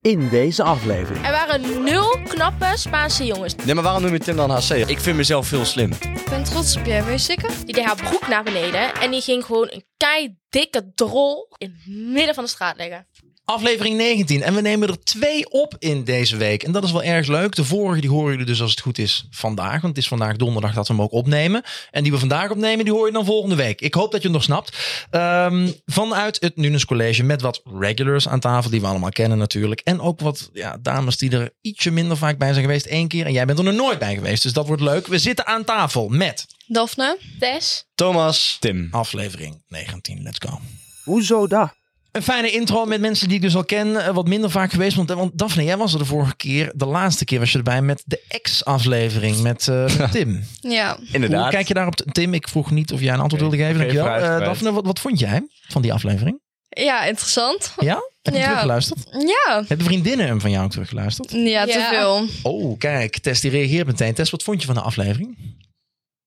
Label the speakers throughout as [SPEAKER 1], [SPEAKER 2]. [SPEAKER 1] in deze aflevering.
[SPEAKER 2] Er waren nul knappe Spaanse jongens.
[SPEAKER 3] Nee, maar waarom noem je Tim dan HC? Ik vind mezelf veel slim.
[SPEAKER 4] Ik ben trots op je, weet je zeker?
[SPEAKER 2] Die deed haar broek naar beneden en die ging gewoon een kei dikke drol in het midden van de straat liggen.
[SPEAKER 5] Aflevering 19. En we nemen er twee op in deze week. En dat is wel erg leuk. De vorige die horen jullie dus als het goed is vandaag. Want het is vandaag donderdag dat we hem ook opnemen. En die we vandaag opnemen, die hoor je dan volgende week. Ik hoop dat je het nog snapt. Ehm, vanuit het Nunes College met wat regulars aan tafel. Die we allemaal kennen natuurlijk. En ook wat ja, dames die er ietsje minder vaak bij zijn geweest. Eén keer. En jij bent er nog nooit bij geweest. Dus dat wordt leuk. We zitten aan tafel met
[SPEAKER 4] Daphne?
[SPEAKER 2] Tess,
[SPEAKER 3] Thomas. Tim.
[SPEAKER 5] aflevering 19. Let's go.
[SPEAKER 1] Hoezo dat?
[SPEAKER 5] Een fijne intro met mensen die ik dus al ken. eh, Wat minder vaak geweest. Want, want Daphne, jij was er de vorige keer. De laatste keer was je erbij met de ex-aflevering met, eh, met Tim.
[SPEAKER 4] Ja.
[SPEAKER 3] Inderdaad.
[SPEAKER 5] Hoe kijk je daarop? Tim, ik vroeg niet of jij een antwoord
[SPEAKER 3] Oké,
[SPEAKER 5] wilde geven.
[SPEAKER 3] oké,
[SPEAKER 5] Dankjewel.
[SPEAKER 3] vraag
[SPEAKER 5] Eh,
[SPEAKER 3] kwijt.
[SPEAKER 5] Daphne, wat, wat vond jij van die aflevering?
[SPEAKER 4] Ja, interessant.
[SPEAKER 5] Ja? Heb je
[SPEAKER 4] Ja.
[SPEAKER 5] teruggeluisterd?
[SPEAKER 4] Ja.
[SPEAKER 5] Hebben vriendinnen hem van jou ook teruggeluisterd?
[SPEAKER 4] Ja, te
[SPEAKER 2] Ja.
[SPEAKER 4] veel.
[SPEAKER 5] Oh, kijk. Tess, die reageert meteen. Tess, wat vond je van de aflevering?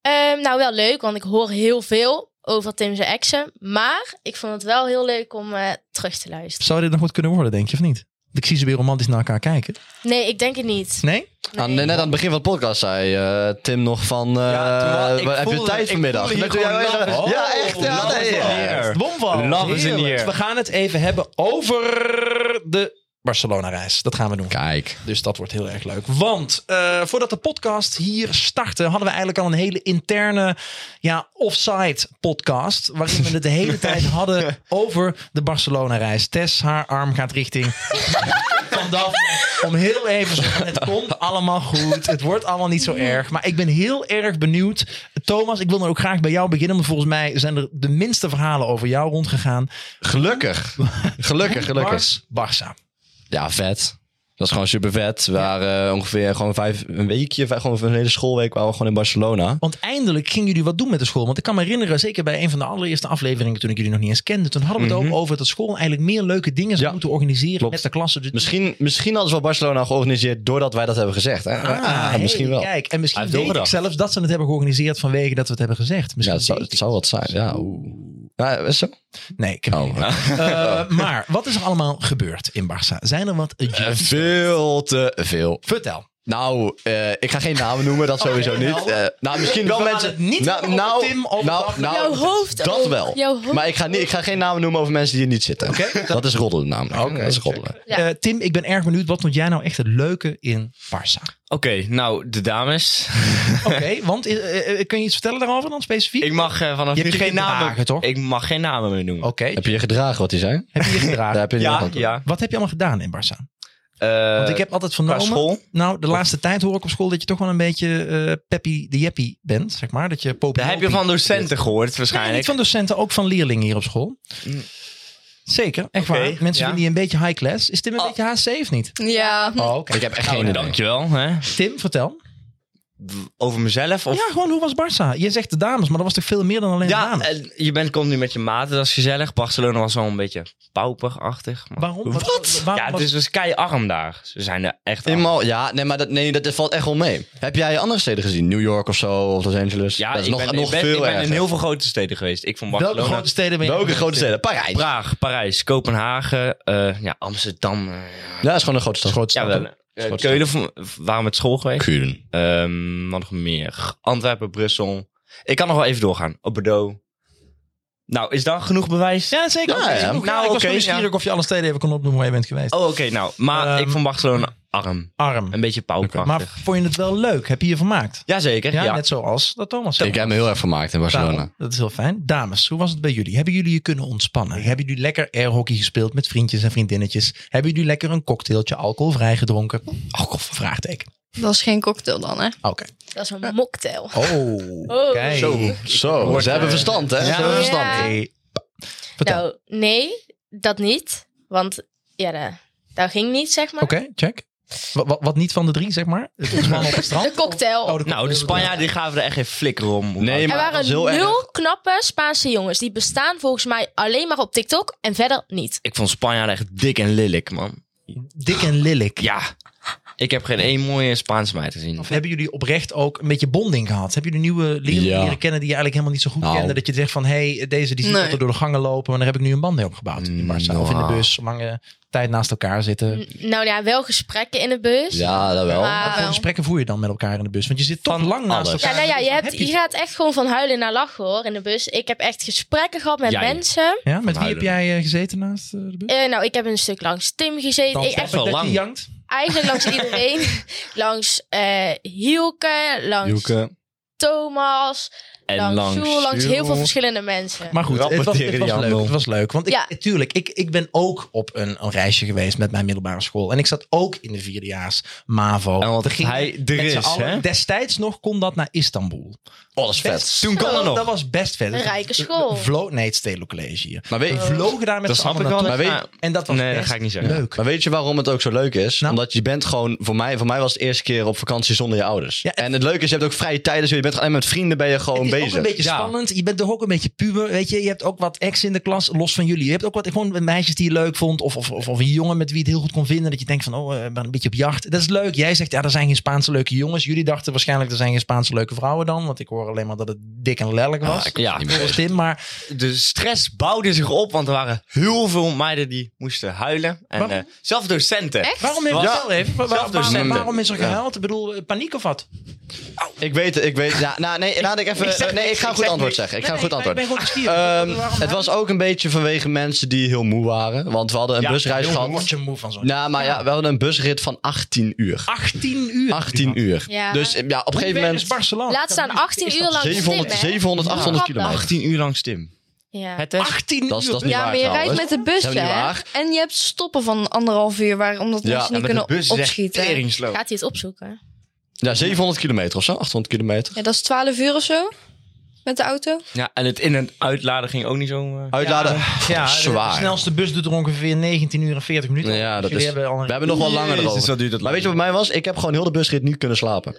[SPEAKER 2] Ehm, nou, wel leuk, want ik hoor heel veel over Tim zijn exen. Maar ik vond het wel heel leuk om eh, terug te luisteren.
[SPEAKER 5] Zou dit nog wat kunnen worden, denk je, of niet? Want Ik zie ze weer romantisch naar elkaar kijken.
[SPEAKER 2] Nee, ik denk het niet.
[SPEAKER 5] Nee?
[SPEAKER 3] Aan- net aan het begin van de podcast zei eh, Tim nog van... eh,
[SPEAKER 5] Ja, toen- ik
[SPEAKER 3] wa- heb je
[SPEAKER 5] voelde-
[SPEAKER 3] tijd
[SPEAKER 5] ik
[SPEAKER 3] vanmiddag?
[SPEAKER 5] voelde
[SPEAKER 3] Dan
[SPEAKER 5] hier
[SPEAKER 3] kon jij
[SPEAKER 5] gewoon
[SPEAKER 3] wel
[SPEAKER 5] love.
[SPEAKER 3] zeggen, ja,
[SPEAKER 5] Oh,
[SPEAKER 3] echt. Ja,
[SPEAKER 5] love
[SPEAKER 3] nee,
[SPEAKER 5] is in
[SPEAKER 3] ja.
[SPEAKER 5] the air. Bomval.
[SPEAKER 3] Love is in the
[SPEAKER 5] Heerlijk.
[SPEAKER 3] air.
[SPEAKER 5] We gaan het even hebben over de Barcelona-reis. Dat gaan we doen.
[SPEAKER 3] Kijk.
[SPEAKER 5] Dus dat wordt heel erg leuk. Want eh, voordat de podcast hier startte, hadden we eigenlijk al een hele interne ja, offsite podcast. Waarin we het de hele tijd hadden over de Barcelona-reis. Tess, haar arm gaat richting. Van Daphne. Om heel even zo van, Het komt allemaal goed. Het wordt allemaal niet zo erg. Maar ik ben heel erg benieuwd. Thomas, ik wil dan ook graag bij jou beginnen. Want volgens mij zijn er de minste verhalen over jou rondgegaan.
[SPEAKER 3] Gelukkig. Gelukkig, gelukkig.
[SPEAKER 5] Bars, Barça.
[SPEAKER 3] Ja, vet. Dat is gewoon super vet. We waren eh, ongeveer gewoon vijf, een weekje, vijf- gewoon een hele schoolweek waren we gewoon in Barcelona.
[SPEAKER 5] Want eindelijk gingen jullie wat doen met de school. Want ik kan me herinneren, zeker bij een van de allereerste afleveringen toen ik jullie nog niet eens kende. Toen hadden we het
[SPEAKER 3] Mhm.
[SPEAKER 5] ook over dat school eigenlijk meer leuke dingen zou
[SPEAKER 3] Ja.
[SPEAKER 5] moeten organiseren
[SPEAKER 3] Klopt.
[SPEAKER 5] met de klassen. Dus-
[SPEAKER 3] Misschien, misschien hadden ze wel Barcelona georganiseerd doordat wij dat hebben gezegd. hè?
[SPEAKER 5] Ah,
[SPEAKER 3] Ah,
[SPEAKER 5] hey,
[SPEAKER 3] misschien wel.
[SPEAKER 5] Kijk, en misschien
[SPEAKER 3] Hij heeft wel
[SPEAKER 5] weet ik
[SPEAKER 3] gedacht.
[SPEAKER 5] zelfs dat ze het hebben georganiseerd vanwege dat we het hebben gezegd.
[SPEAKER 3] Ja,
[SPEAKER 5] Misschien
[SPEAKER 3] het zou,
[SPEAKER 5] weet
[SPEAKER 3] het
[SPEAKER 5] ik
[SPEAKER 3] zou
[SPEAKER 5] het.
[SPEAKER 3] wat zijn. Ja, oeh. Ja, is zo?
[SPEAKER 5] Nee, ik heb geen
[SPEAKER 3] Oh.
[SPEAKER 5] idee. Eh, Maar wat is er allemaal gebeurd in Barça? Zijn er wat...
[SPEAKER 3] Eh, veel te veel.
[SPEAKER 5] Vertel.
[SPEAKER 3] Nou, eh, ik ga geen namen noemen, dat sowieso
[SPEAKER 5] Oké, wel.
[SPEAKER 3] niet. Eh, nou, misschien wel
[SPEAKER 5] We gaan
[SPEAKER 3] mensen.
[SPEAKER 5] het niet
[SPEAKER 3] nou,
[SPEAKER 5] hebben over Tim of
[SPEAKER 3] nou,
[SPEAKER 5] Daphne.
[SPEAKER 3] nou,
[SPEAKER 2] Jouw hoofd
[SPEAKER 3] Dat
[SPEAKER 2] ook.
[SPEAKER 3] wel.
[SPEAKER 2] Jouw hoofd
[SPEAKER 3] Maar ik ga, niet, ik ga geen namen noemen over mensen die er niet zitten.
[SPEAKER 5] Oké.
[SPEAKER 3] Dat is roddelen namelijk.
[SPEAKER 5] Oké,
[SPEAKER 3] dat is
[SPEAKER 5] check.
[SPEAKER 3] roddelen.
[SPEAKER 2] Ja.
[SPEAKER 5] Eh, Tim, ik ben erg benieuwd. Wat vond jij nou echt het leuke in Barça?
[SPEAKER 6] Oké, nou, de dames.
[SPEAKER 5] Oké, want eh, eh, kun je iets vertellen daarover dan specifiek?
[SPEAKER 6] Ik mag eh, vanaf
[SPEAKER 5] Je
[SPEAKER 6] nu
[SPEAKER 5] hebt je
[SPEAKER 6] geen namen...
[SPEAKER 5] gedragen, toch?
[SPEAKER 6] Ik mag geen namen meer noemen.
[SPEAKER 5] Oké,
[SPEAKER 3] Heb je je gedragen wat die zei?
[SPEAKER 5] heb je je
[SPEAKER 3] Daar
[SPEAKER 5] gedragen?
[SPEAKER 3] heb je
[SPEAKER 6] ja,
[SPEAKER 3] niemand op.
[SPEAKER 6] ja.
[SPEAKER 5] Wat heb je allemaal gedaan in Barça?
[SPEAKER 6] Eh,
[SPEAKER 5] Want ik heb altijd vernomen.
[SPEAKER 6] qua school?
[SPEAKER 5] Nou, de laatste tijd hoor ik op school dat je toch wel een beetje eh Peppy de Jeppy bent, zeg maar. Dat je
[SPEAKER 6] Daar
[SPEAKER 5] populair
[SPEAKER 6] heb je van docenten gehoord
[SPEAKER 5] Nee, niet
[SPEAKER 6] waarschijnlijk. Mm.
[SPEAKER 5] van docenten, ook van leerlingen hier op school. Zeker, echt
[SPEAKER 6] Oké,
[SPEAKER 5] waar. Mensen
[SPEAKER 6] ja. Oh.
[SPEAKER 5] vinden die een beetje high class. Is Tim een beetje HC of niet?
[SPEAKER 4] Ja.
[SPEAKER 5] Oh,
[SPEAKER 3] Ik heb echt geen
[SPEAKER 5] Nou,
[SPEAKER 3] idee.
[SPEAKER 6] Dankjewel. Hè?
[SPEAKER 5] Tim, vertel.
[SPEAKER 6] Over mezelf? Of...
[SPEAKER 5] Ja, gewoon hoe was Barça? Je zegt de dames, maar dat was toch veel meer dan alleen de
[SPEAKER 6] Ja, eh,
[SPEAKER 5] dames?
[SPEAKER 6] en je bent continu met je maten, dat is gezellig. Barcelona was wel een beetje pauperachtig. maar-
[SPEAKER 5] Waarom? Wat?
[SPEAKER 6] Ja, het
[SPEAKER 5] was-
[SPEAKER 6] is dus keiarm daar. Ze zijn er echt arm.
[SPEAKER 3] Eenmaal, ja, nee, maar dat, nee, dat valt echt wel mee. Heb jij andere steden gezien? New York of zo, of Los Angeles?
[SPEAKER 6] Ja,
[SPEAKER 3] dat is
[SPEAKER 6] ik
[SPEAKER 3] nog,
[SPEAKER 6] ben,
[SPEAKER 3] nog
[SPEAKER 6] ik ben,
[SPEAKER 3] veel
[SPEAKER 6] ik ben
[SPEAKER 3] erger.
[SPEAKER 6] in heel veel grote steden geweest. Ik vond
[SPEAKER 5] Welke
[SPEAKER 6] Barcelona...
[SPEAKER 5] grote steden ben je?
[SPEAKER 3] Welke grote steden? Parijs. Ja,
[SPEAKER 6] Praag, Parijs, Kopenhagen, eh, ja, Amsterdam. eh,
[SPEAKER 3] dat is gewoon een grote stad.
[SPEAKER 5] Grote
[SPEAKER 6] ja,
[SPEAKER 5] stad,
[SPEAKER 6] wel.
[SPEAKER 5] hè?
[SPEAKER 6] eh, Keulen vo- waren met school geweest.
[SPEAKER 3] Kuren.
[SPEAKER 6] Ehm, wat nog meer? Antwerpen, Brussel. Ik kan nog wel even doorgaan. Op Bordeaux. Nou, is dat genoeg bewijs?
[SPEAKER 5] Ja, zeker.
[SPEAKER 3] Ja, ja.
[SPEAKER 5] Nou, ik was
[SPEAKER 6] Nou,
[SPEAKER 5] gewoon
[SPEAKER 6] oké,
[SPEAKER 5] nieuwsgierig of je alle steden even kon opnoemen waar je bent geweest.
[SPEAKER 6] Oh, oké, nou. Maar
[SPEAKER 5] Ehm,
[SPEAKER 6] ik vond Barcelona arm.
[SPEAKER 5] Arm.
[SPEAKER 6] Een beetje pauwkrachtig.
[SPEAKER 5] Maar vond je het wel leuk? Heb je je vermaakt?
[SPEAKER 6] Jazeker, ja.
[SPEAKER 5] Ja, net zoals dat Thomas zei.
[SPEAKER 3] Ik heb me heel erg vermaakt in Barcelona.
[SPEAKER 5] Daarom, dat is heel fijn. Dames, hoe was het bij jullie? Hebben jullie je kunnen ontspannen? Hebben jullie lekker airhockey gespeeld met vriendjes en vriendinnetjes? Hebben jullie lekker een cocktailtje alcoholvrij gedronken? Alcohol, vraagteken.
[SPEAKER 4] Dat is geen cocktail dan, hè?
[SPEAKER 5] Oké.
[SPEAKER 2] Dat is een mocktail.
[SPEAKER 5] Oh,
[SPEAKER 2] Oh.
[SPEAKER 5] kijk.
[SPEAKER 3] Zo, zo. ze hebben verstand, hè?
[SPEAKER 5] Ja.
[SPEAKER 3] Ze hebben verstand.
[SPEAKER 2] Ja.
[SPEAKER 5] Hey. Vertel.
[SPEAKER 2] Nou, nee, dat niet. Want ja, de- dat ging niet, zeg maar.
[SPEAKER 5] Oké, check. Wat, wat, wat niet van de drie, zeg maar? Het ontspannen op het strand?
[SPEAKER 2] De cocktail.
[SPEAKER 5] Oh,
[SPEAKER 6] Nou, de Spanjaarden die gaven er echt geen flikker om. Hoe
[SPEAKER 3] Nee,
[SPEAKER 6] oud-
[SPEAKER 2] er
[SPEAKER 3] maar dat
[SPEAKER 2] waren
[SPEAKER 3] is heel erg.
[SPEAKER 2] nul knappe Spaanse jongens. Die bestaan volgens mij alleen maar op TikTok en verder niet.
[SPEAKER 6] Ik vond Spanjaarden echt dik en lelijk, man.
[SPEAKER 5] Dik en lillik.
[SPEAKER 6] Ja. Ik heb geen één mooie Spaanse meid gezien.
[SPEAKER 5] Of hebben jullie oprecht ook een beetje bonding gehad? Hebben jullie nieuwe leren,
[SPEAKER 3] Ja.
[SPEAKER 5] leren kennen die je eigenlijk helemaal niet zo goed
[SPEAKER 3] Nou.
[SPEAKER 5] kende? Dat je zegt van, hé, hey, deze die ziet
[SPEAKER 4] Nee.
[SPEAKER 5] altijd door de gangen lopen. Maar daar heb ik nu een band mee opgebouwd. In Barca. Of in de
[SPEAKER 6] Nou.
[SPEAKER 5] bus, lange tijd naast elkaar zitten.
[SPEAKER 2] N- Nou ja, wel gesprekken in de bus.
[SPEAKER 3] Ja, dat wel.
[SPEAKER 2] Maar-
[SPEAKER 5] Welke
[SPEAKER 4] wel.
[SPEAKER 5] gesprekken voer je dan met elkaar in de bus? Want je zit toch
[SPEAKER 6] Van
[SPEAKER 5] lang naast
[SPEAKER 6] alles.
[SPEAKER 5] elkaar.
[SPEAKER 2] Ja, nou ja, je,
[SPEAKER 5] Heb
[SPEAKER 2] hebt,
[SPEAKER 5] je-
[SPEAKER 2] je gaat echt gewoon van huilen naar lachen hoor in de bus. Ik heb echt gesprekken gehad met
[SPEAKER 6] Jij?
[SPEAKER 2] mensen.
[SPEAKER 5] Ja, met wie heb
[SPEAKER 6] huilen.
[SPEAKER 5] jij eh, gezeten naast eh, de bus?
[SPEAKER 2] Eh, nou, ik heb een stuk langs Tim gezeten.
[SPEAKER 5] Dan
[SPEAKER 2] Ik,
[SPEAKER 5] snap
[SPEAKER 2] echt,
[SPEAKER 5] ik
[SPEAKER 6] wel
[SPEAKER 5] dat je
[SPEAKER 6] lang.
[SPEAKER 5] jankt.
[SPEAKER 2] eigenlijk langs iedereen. langs eh, Hielke, langs
[SPEAKER 3] Joeke.
[SPEAKER 2] Thomas,
[SPEAKER 6] En
[SPEAKER 2] langs,
[SPEAKER 6] langs
[SPEAKER 2] Sjoel, langs heel veel
[SPEAKER 6] Sjoel.
[SPEAKER 2] verschillende mensen.
[SPEAKER 5] Maar goed, het was, het
[SPEAKER 3] Rapporteren die
[SPEAKER 5] was leuk.
[SPEAKER 3] handel.
[SPEAKER 5] Het was leuk. Want ik,
[SPEAKER 2] Ja.
[SPEAKER 5] tuurlijk, ik, ik ben ook op een, een reisje geweest met mijn middelbare school. En ik zat ook in de vierdejaars MAVO.
[SPEAKER 6] En want
[SPEAKER 5] Er gingen
[SPEAKER 6] hij er
[SPEAKER 5] met z'n
[SPEAKER 6] is,
[SPEAKER 5] allen-
[SPEAKER 6] hè?
[SPEAKER 5] Destijds nog kon dat naar Istanbul.
[SPEAKER 3] Alles
[SPEAKER 5] Best-
[SPEAKER 3] Oh, vet. Toen kon
[SPEAKER 5] dat
[SPEAKER 3] het nog.
[SPEAKER 5] was best vet.
[SPEAKER 2] Een rijke school.
[SPEAKER 5] Vlo nee, het Stedelijk College hier.
[SPEAKER 3] Maar weet,
[SPEAKER 5] We vlogen daar met
[SPEAKER 6] Dat
[SPEAKER 5] z'n
[SPEAKER 6] snap ik
[SPEAKER 5] allen
[SPEAKER 6] wel.
[SPEAKER 5] naartoe.
[SPEAKER 6] Maar weet-
[SPEAKER 5] Maar- En dat was
[SPEAKER 6] Nee, dat
[SPEAKER 5] best
[SPEAKER 6] ga ik niet zeggen.
[SPEAKER 5] leuk.
[SPEAKER 3] maar weet je waarom het ook zo leuk is?
[SPEAKER 5] Nou.
[SPEAKER 3] Omdat je bent gewoon, voor mij, voor mij was het eerste keer op vakantie zonder je ouders.
[SPEAKER 5] Ja, en-
[SPEAKER 3] en, het leuke is, je hebt ook vrije tijd, dus je bent alleen met vrienden ben je gewoon
[SPEAKER 5] Het is
[SPEAKER 3] bezig.
[SPEAKER 5] ook een beetje
[SPEAKER 6] Ja.
[SPEAKER 5] spannend. Je bent toch ook een beetje puber, weet je. Je hebt ook wat ex in de klas, los van jullie. Je hebt ook wat gewoon meisjes die je leuk vond. Of, of, of, of een jongen met wie je het heel goed kon vinden. Dat je denkt van, oh, eh, ik ben een beetje op jacht. Dat is leuk. Jij zegt, ja, er zijn geen Spaanse leuke jongens. Jullie dachten waarschijnlijk, er zijn geen Spaanse leuke vrouwen dan. Want ik hoor alleen maar dat het dik en lelijk was.
[SPEAKER 6] ik- ja.
[SPEAKER 5] volgens Tim. Maar
[SPEAKER 6] De stress bouwde zich op, want er waren heel veel meiden die moesten huilen. En
[SPEAKER 5] Waarom?
[SPEAKER 6] eh zelfs docenten.
[SPEAKER 4] Echt?
[SPEAKER 5] waarom, heeft,
[SPEAKER 6] Ja.
[SPEAKER 5] wel even, waar- waar-
[SPEAKER 6] Zelfdocenten.
[SPEAKER 5] waarom- waarom is er gehuild? Ik bedoel, eh, paniek of wat?
[SPEAKER 3] Ik weet het, ik weet het. Ja, nou, nee, laat ik even.
[SPEAKER 5] Ik zeg
[SPEAKER 3] eh, nee, ik
[SPEAKER 5] niks,
[SPEAKER 3] ga een
[SPEAKER 5] ik
[SPEAKER 3] goed
[SPEAKER 5] zeg
[SPEAKER 3] antwoord
[SPEAKER 5] niks.
[SPEAKER 3] zeggen. Ik
[SPEAKER 5] Nee,
[SPEAKER 3] ga een goed
[SPEAKER 5] nee,
[SPEAKER 3] antwoord.
[SPEAKER 5] ik ben gewoon nieuwsgierig.
[SPEAKER 3] Ehm,
[SPEAKER 5] Waarom
[SPEAKER 3] het was ook een beetje vanwege mensen die heel moe waren. Want we hadden een
[SPEAKER 6] Ja,
[SPEAKER 3] busreis
[SPEAKER 6] heel
[SPEAKER 5] Word
[SPEAKER 3] gehad.
[SPEAKER 5] je moe van zo'n...
[SPEAKER 3] Nou, maar ja, we hadden een busrit van 18 uur.
[SPEAKER 5] 18 uur.
[SPEAKER 3] 18 uur.
[SPEAKER 2] Ja.
[SPEAKER 3] Dus eh, ja, op een
[SPEAKER 5] Hoe
[SPEAKER 3] gegeven
[SPEAKER 5] ver is
[SPEAKER 3] moment.
[SPEAKER 5] Barcelona.
[SPEAKER 2] Laat staan 18 uur lang
[SPEAKER 3] 700,
[SPEAKER 2] Tim, hè?
[SPEAKER 3] 700 800
[SPEAKER 2] Ja.
[SPEAKER 3] kilometer.
[SPEAKER 6] 18 uur lang stim.
[SPEAKER 2] Ja.
[SPEAKER 6] Het is
[SPEAKER 5] 18
[SPEAKER 3] Dat is-
[SPEAKER 5] uur.
[SPEAKER 3] dat is niet
[SPEAKER 4] Ja,
[SPEAKER 3] waar
[SPEAKER 4] maar je rijdt
[SPEAKER 3] trouwens.
[SPEAKER 4] met de bus,
[SPEAKER 3] Dat is niet
[SPEAKER 4] hè?
[SPEAKER 3] waar.
[SPEAKER 4] En je hebt stoppen van anderhalf uur, waar, omdat
[SPEAKER 3] Ja,
[SPEAKER 4] mensen
[SPEAKER 6] en
[SPEAKER 4] niet
[SPEAKER 6] met de
[SPEAKER 4] kunnen
[SPEAKER 6] bus is echt
[SPEAKER 4] opschieten.
[SPEAKER 6] teringslow.
[SPEAKER 2] Gaat hij het opzoeken?
[SPEAKER 3] Ja, 700 kilometer of zo, 800 kilometer.
[SPEAKER 4] Ja, dat is 12 uur of zo, met de auto.
[SPEAKER 6] Ja, en het in- en uitladen ging ook niet zo... eh,
[SPEAKER 3] Uitladen.
[SPEAKER 5] Ja, de-
[SPEAKER 3] zwaar.
[SPEAKER 5] de snelste bus doet er ongeveer 19 uur en 40 minuten.
[SPEAKER 3] Ja,
[SPEAKER 5] Dus
[SPEAKER 3] dat
[SPEAKER 5] jullie
[SPEAKER 3] is-
[SPEAKER 5] hebben al een-
[SPEAKER 3] We hebben nog wel langer
[SPEAKER 6] Jezus,
[SPEAKER 3] erover.
[SPEAKER 6] wat duurt dat
[SPEAKER 3] Maar weet je
[SPEAKER 6] lang.
[SPEAKER 3] wat bij mij was? Ik heb gewoon heel de busrit niet kunnen slapen.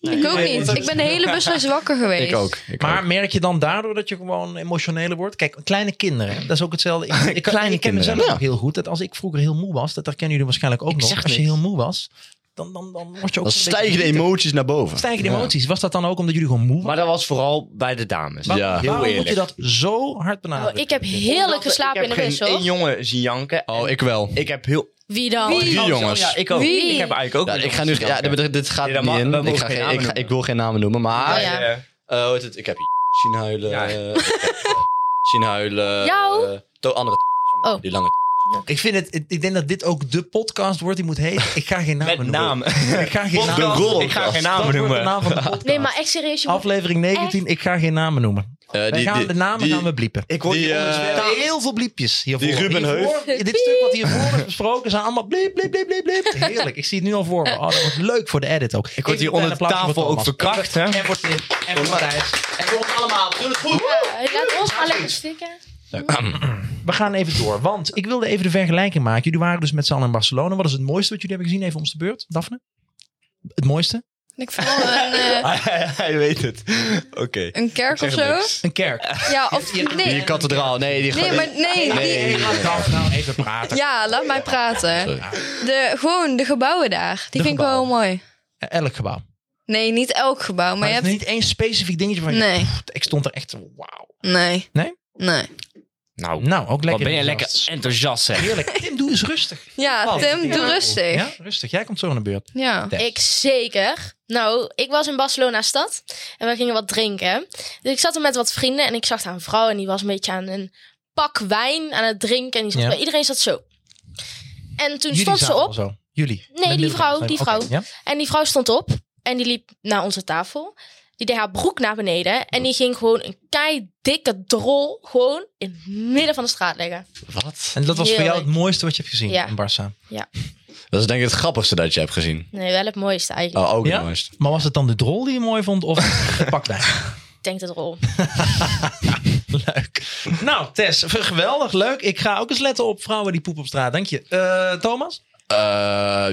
[SPEAKER 4] ik ook niet. Ik ben de hele busreis wakker geweest.
[SPEAKER 3] Ik ook. Ik
[SPEAKER 5] Maar
[SPEAKER 3] ook.
[SPEAKER 5] merk je dan daardoor dat je gewoon emotioneler wordt? Kijk, kleine kinderen, hè, dat is ook hetzelfde. Ik, ik,
[SPEAKER 6] Kleine
[SPEAKER 5] ik ken
[SPEAKER 6] kinderen,
[SPEAKER 5] mezelf
[SPEAKER 3] ja.
[SPEAKER 5] ook heel goed. Dat als ik vroeger heel moe was, dat herkennen jullie waarschijnlijk ook nog.
[SPEAKER 6] zeg
[SPEAKER 5] als je
[SPEAKER 6] niks.
[SPEAKER 5] heel moe was, dan, dan, dan word je ook een
[SPEAKER 3] Dan
[SPEAKER 5] beetje
[SPEAKER 3] stijgen de
[SPEAKER 5] verdrietig.
[SPEAKER 3] emoties naar boven.
[SPEAKER 5] Stijgen de
[SPEAKER 3] Ja.
[SPEAKER 5] emoties. Was dat dan ook omdat jullie gewoon moe
[SPEAKER 6] Maar
[SPEAKER 5] waren?
[SPEAKER 6] dat was vooral bij de dames.
[SPEAKER 3] Maar- Ja.
[SPEAKER 5] Waarom-
[SPEAKER 6] heel
[SPEAKER 5] Waarom moet je
[SPEAKER 6] eerlijk.
[SPEAKER 5] dat zo hard
[SPEAKER 2] Oh,
[SPEAKER 6] Nou,
[SPEAKER 5] benadrukken?
[SPEAKER 2] ik heb heerlijk geslapen in de bus
[SPEAKER 6] Ik heb geen
[SPEAKER 2] hoor.
[SPEAKER 6] één jongen zien janken.
[SPEAKER 3] Oh, ik wel.
[SPEAKER 6] Ik heb heel...
[SPEAKER 2] Wie dan?
[SPEAKER 4] Wie?
[SPEAKER 3] Drie
[SPEAKER 6] Oh,
[SPEAKER 3] jongens.
[SPEAKER 6] zo, Ja, ik ook.
[SPEAKER 4] Wie?
[SPEAKER 6] Ik heb eigenlijk ook...
[SPEAKER 3] Ja,
[SPEAKER 6] wel
[SPEAKER 3] ik ga nu.
[SPEAKER 6] jongens
[SPEAKER 3] Ja,
[SPEAKER 6] zien janken.
[SPEAKER 3] dit, dit gaat
[SPEAKER 6] Ja, dat
[SPEAKER 3] niet
[SPEAKER 6] mag-
[SPEAKER 3] in.
[SPEAKER 6] we
[SPEAKER 3] Ik,
[SPEAKER 6] mogen
[SPEAKER 3] ga
[SPEAKER 6] geen
[SPEAKER 3] geen-
[SPEAKER 6] namen
[SPEAKER 3] ik, ga- ik
[SPEAKER 6] noemen.
[SPEAKER 3] wil geen namen noemen, maar.
[SPEAKER 2] Ja.
[SPEAKER 6] Eh,
[SPEAKER 3] eh, hoe heet het? Ik heb zien huilen.
[SPEAKER 6] Ja.
[SPEAKER 3] eh, ik heb zien huilen.
[SPEAKER 2] Jou?
[SPEAKER 3] eh, to andere.
[SPEAKER 2] Oh.
[SPEAKER 3] Die lange.
[SPEAKER 5] Ik, vind het, ik ik denk dat dit ook de podcast wordt die moet heten. Ik ga geen namen
[SPEAKER 6] Met
[SPEAKER 5] noemen.
[SPEAKER 6] namen.
[SPEAKER 5] Ik ga geen
[SPEAKER 6] Podcast.
[SPEAKER 5] namen noemen.
[SPEAKER 6] Ik ga geen
[SPEAKER 5] Dat
[SPEAKER 6] namen
[SPEAKER 5] wordt de
[SPEAKER 6] noemen.
[SPEAKER 5] naam van de podcast.
[SPEAKER 2] Nee, maar echt serieus. Je moet...
[SPEAKER 5] Aflevering 19, ik ga geen namen noemen.
[SPEAKER 3] Eh,
[SPEAKER 5] Wij gaan de namen
[SPEAKER 3] die-
[SPEAKER 5] gaan we bliepen.
[SPEAKER 6] Ik hoor
[SPEAKER 3] Die,
[SPEAKER 6] die,
[SPEAKER 3] eh,
[SPEAKER 5] Er
[SPEAKER 6] onderwerpen.
[SPEAKER 5] staan heel veel bliepjes hiervoor.
[SPEAKER 3] die Ruben
[SPEAKER 5] Hiervoor, Dit stuk wat hiervoor is besproken zijn allemaal bliep, bliep, bliep, bliep, bliep. Heerlijk, ik zie het nu al voor me. Oh, dat wordt leuk voor de edit ook. Ik
[SPEAKER 6] word hier onder de tafel ook verkracht, hè?
[SPEAKER 5] En voor Tim, en voor Matthijs.
[SPEAKER 2] Eh, Laat ons maar lekker stikken.
[SPEAKER 5] We gaan even door, want ik wilde even de vergelijking maken. Jullie waren dus met z'n allen in Barcelona. Wat is het mooiste wat jullie hebben gezien? Even om de beurt, Daphne. Het mooiste?
[SPEAKER 4] Ik vond een, eh,
[SPEAKER 6] Hij- Hij weet het. Oké.
[SPEAKER 4] een kerk of
[SPEAKER 6] Zeg
[SPEAKER 4] zo.
[SPEAKER 6] niks.
[SPEAKER 5] Een kerk.
[SPEAKER 4] Ja, of nee.
[SPEAKER 3] Die kathedraal. Nee, die
[SPEAKER 4] Nee, maar nee. die-
[SPEAKER 3] Nee.
[SPEAKER 5] Laat Daphne nou even praten.
[SPEAKER 4] Ja, laat mij praten. De, gewoon de gebouwen daar. Die
[SPEAKER 5] De
[SPEAKER 4] vind ik wel
[SPEAKER 5] gebouwen.
[SPEAKER 4] mooi.
[SPEAKER 5] Elk gebouw. Maar,
[SPEAKER 4] Nee, niet elk gebouw, maar, je
[SPEAKER 5] het
[SPEAKER 4] hebt...
[SPEAKER 5] is niet één specifiek dingetje van je.
[SPEAKER 4] Nee,
[SPEAKER 5] Ik stond er echt, wauw.
[SPEAKER 4] nee.
[SPEAKER 5] Nee?
[SPEAKER 4] Nee.
[SPEAKER 6] Nou,
[SPEAKER 5] Nou, ook lekker.
[SPEAKER 6] wat ben je lekker
[SPEAKER 5] enthousiast.
[SPEAKER 6] enthousiast, zeg.
[SPEAKER 5] Heerlijk. Tim, doe eens rustig.
[SPEAKER 2] Ah,
[SPEAKER 4] Ja,
[SPEAKER 5] Wat?
[SPEAKER 4] Tim, doe
[SPEAKER 5] Ja.
[SPEAKER 4] rustig.
[SPEAKER 5] Ja, rustig. Jij komt zo aan de beurt.
[SPEAKER 4] Ja.
[SPEAKER 5] Tess.
[SPEAKER 2] Ik zeker. Nou, ik was in Barcelona stad en we gingen wat drinken. Dus ik zat er met wat vrienden en ik zag daar een vrouw en die was een beetje aan een pak wijn aan het drinken. En die zat
[SPEAKER 5] Ja.
[SPEAKER 2] bij iedereen zat zo. En toen
[SPEAKER 5] Jullie
[SPEAKER 2] stond ze
[SPEAKER 5] zaten
[SPEAKER 2] op
[SPEAKER 5] al Zo. Jullie.
[SPEAKER 2] Nee,
[SPEAKER 5] Met
[SPEAKER 2] die
[SPEAKER 5] middelbare
[SPEAKER 2] vrouw,
[SPEAKER 5] school.
[SPEAKER 2] die
[SPEAKER 5] Oké,
[SPEAKER 2] vrouw.
[SPEAKER 5] ja?
[SPEAKER 2] en die vrouw stond op en die liep naar onze tafel. Die deed haar broek naar beneden en die ging gewoon een kei dikke drol gewoon in het midden van de straat liggen.
[SPEAKER 3] Wat?
[SPEAKER 5] En dat was voor jou
[SPEAKER 2] Heerlijk.
[SPEAKER 5] het mooiste wat je hebt gezien
[SPEAKER 2] Ja.
[SPEAKER 5] in Barça.
[SPEAKER 3] Dat is denk ik het grappigste dat je hebt gezien.
[SPEAKER 2] Nee, wel het mooiste eigenlijk.
[SPEAKER 3] Oh, ook
[SPEAKER 5] Ja?
[SPEAKER 3] het mooiste.
[SPEAKER 5] Maar was het dan de drol die je mooi vond of de pakwijn?
[SPEAKER 2] Ik denk de drol.
[SPEAKER 5] leuk. Nou, Tess, geweldig, leuk. Ik ga ook eens letten op vrouwen die poepen op straat. Dank je. Eh, Thomas?
[SPEAKER 3] Eh,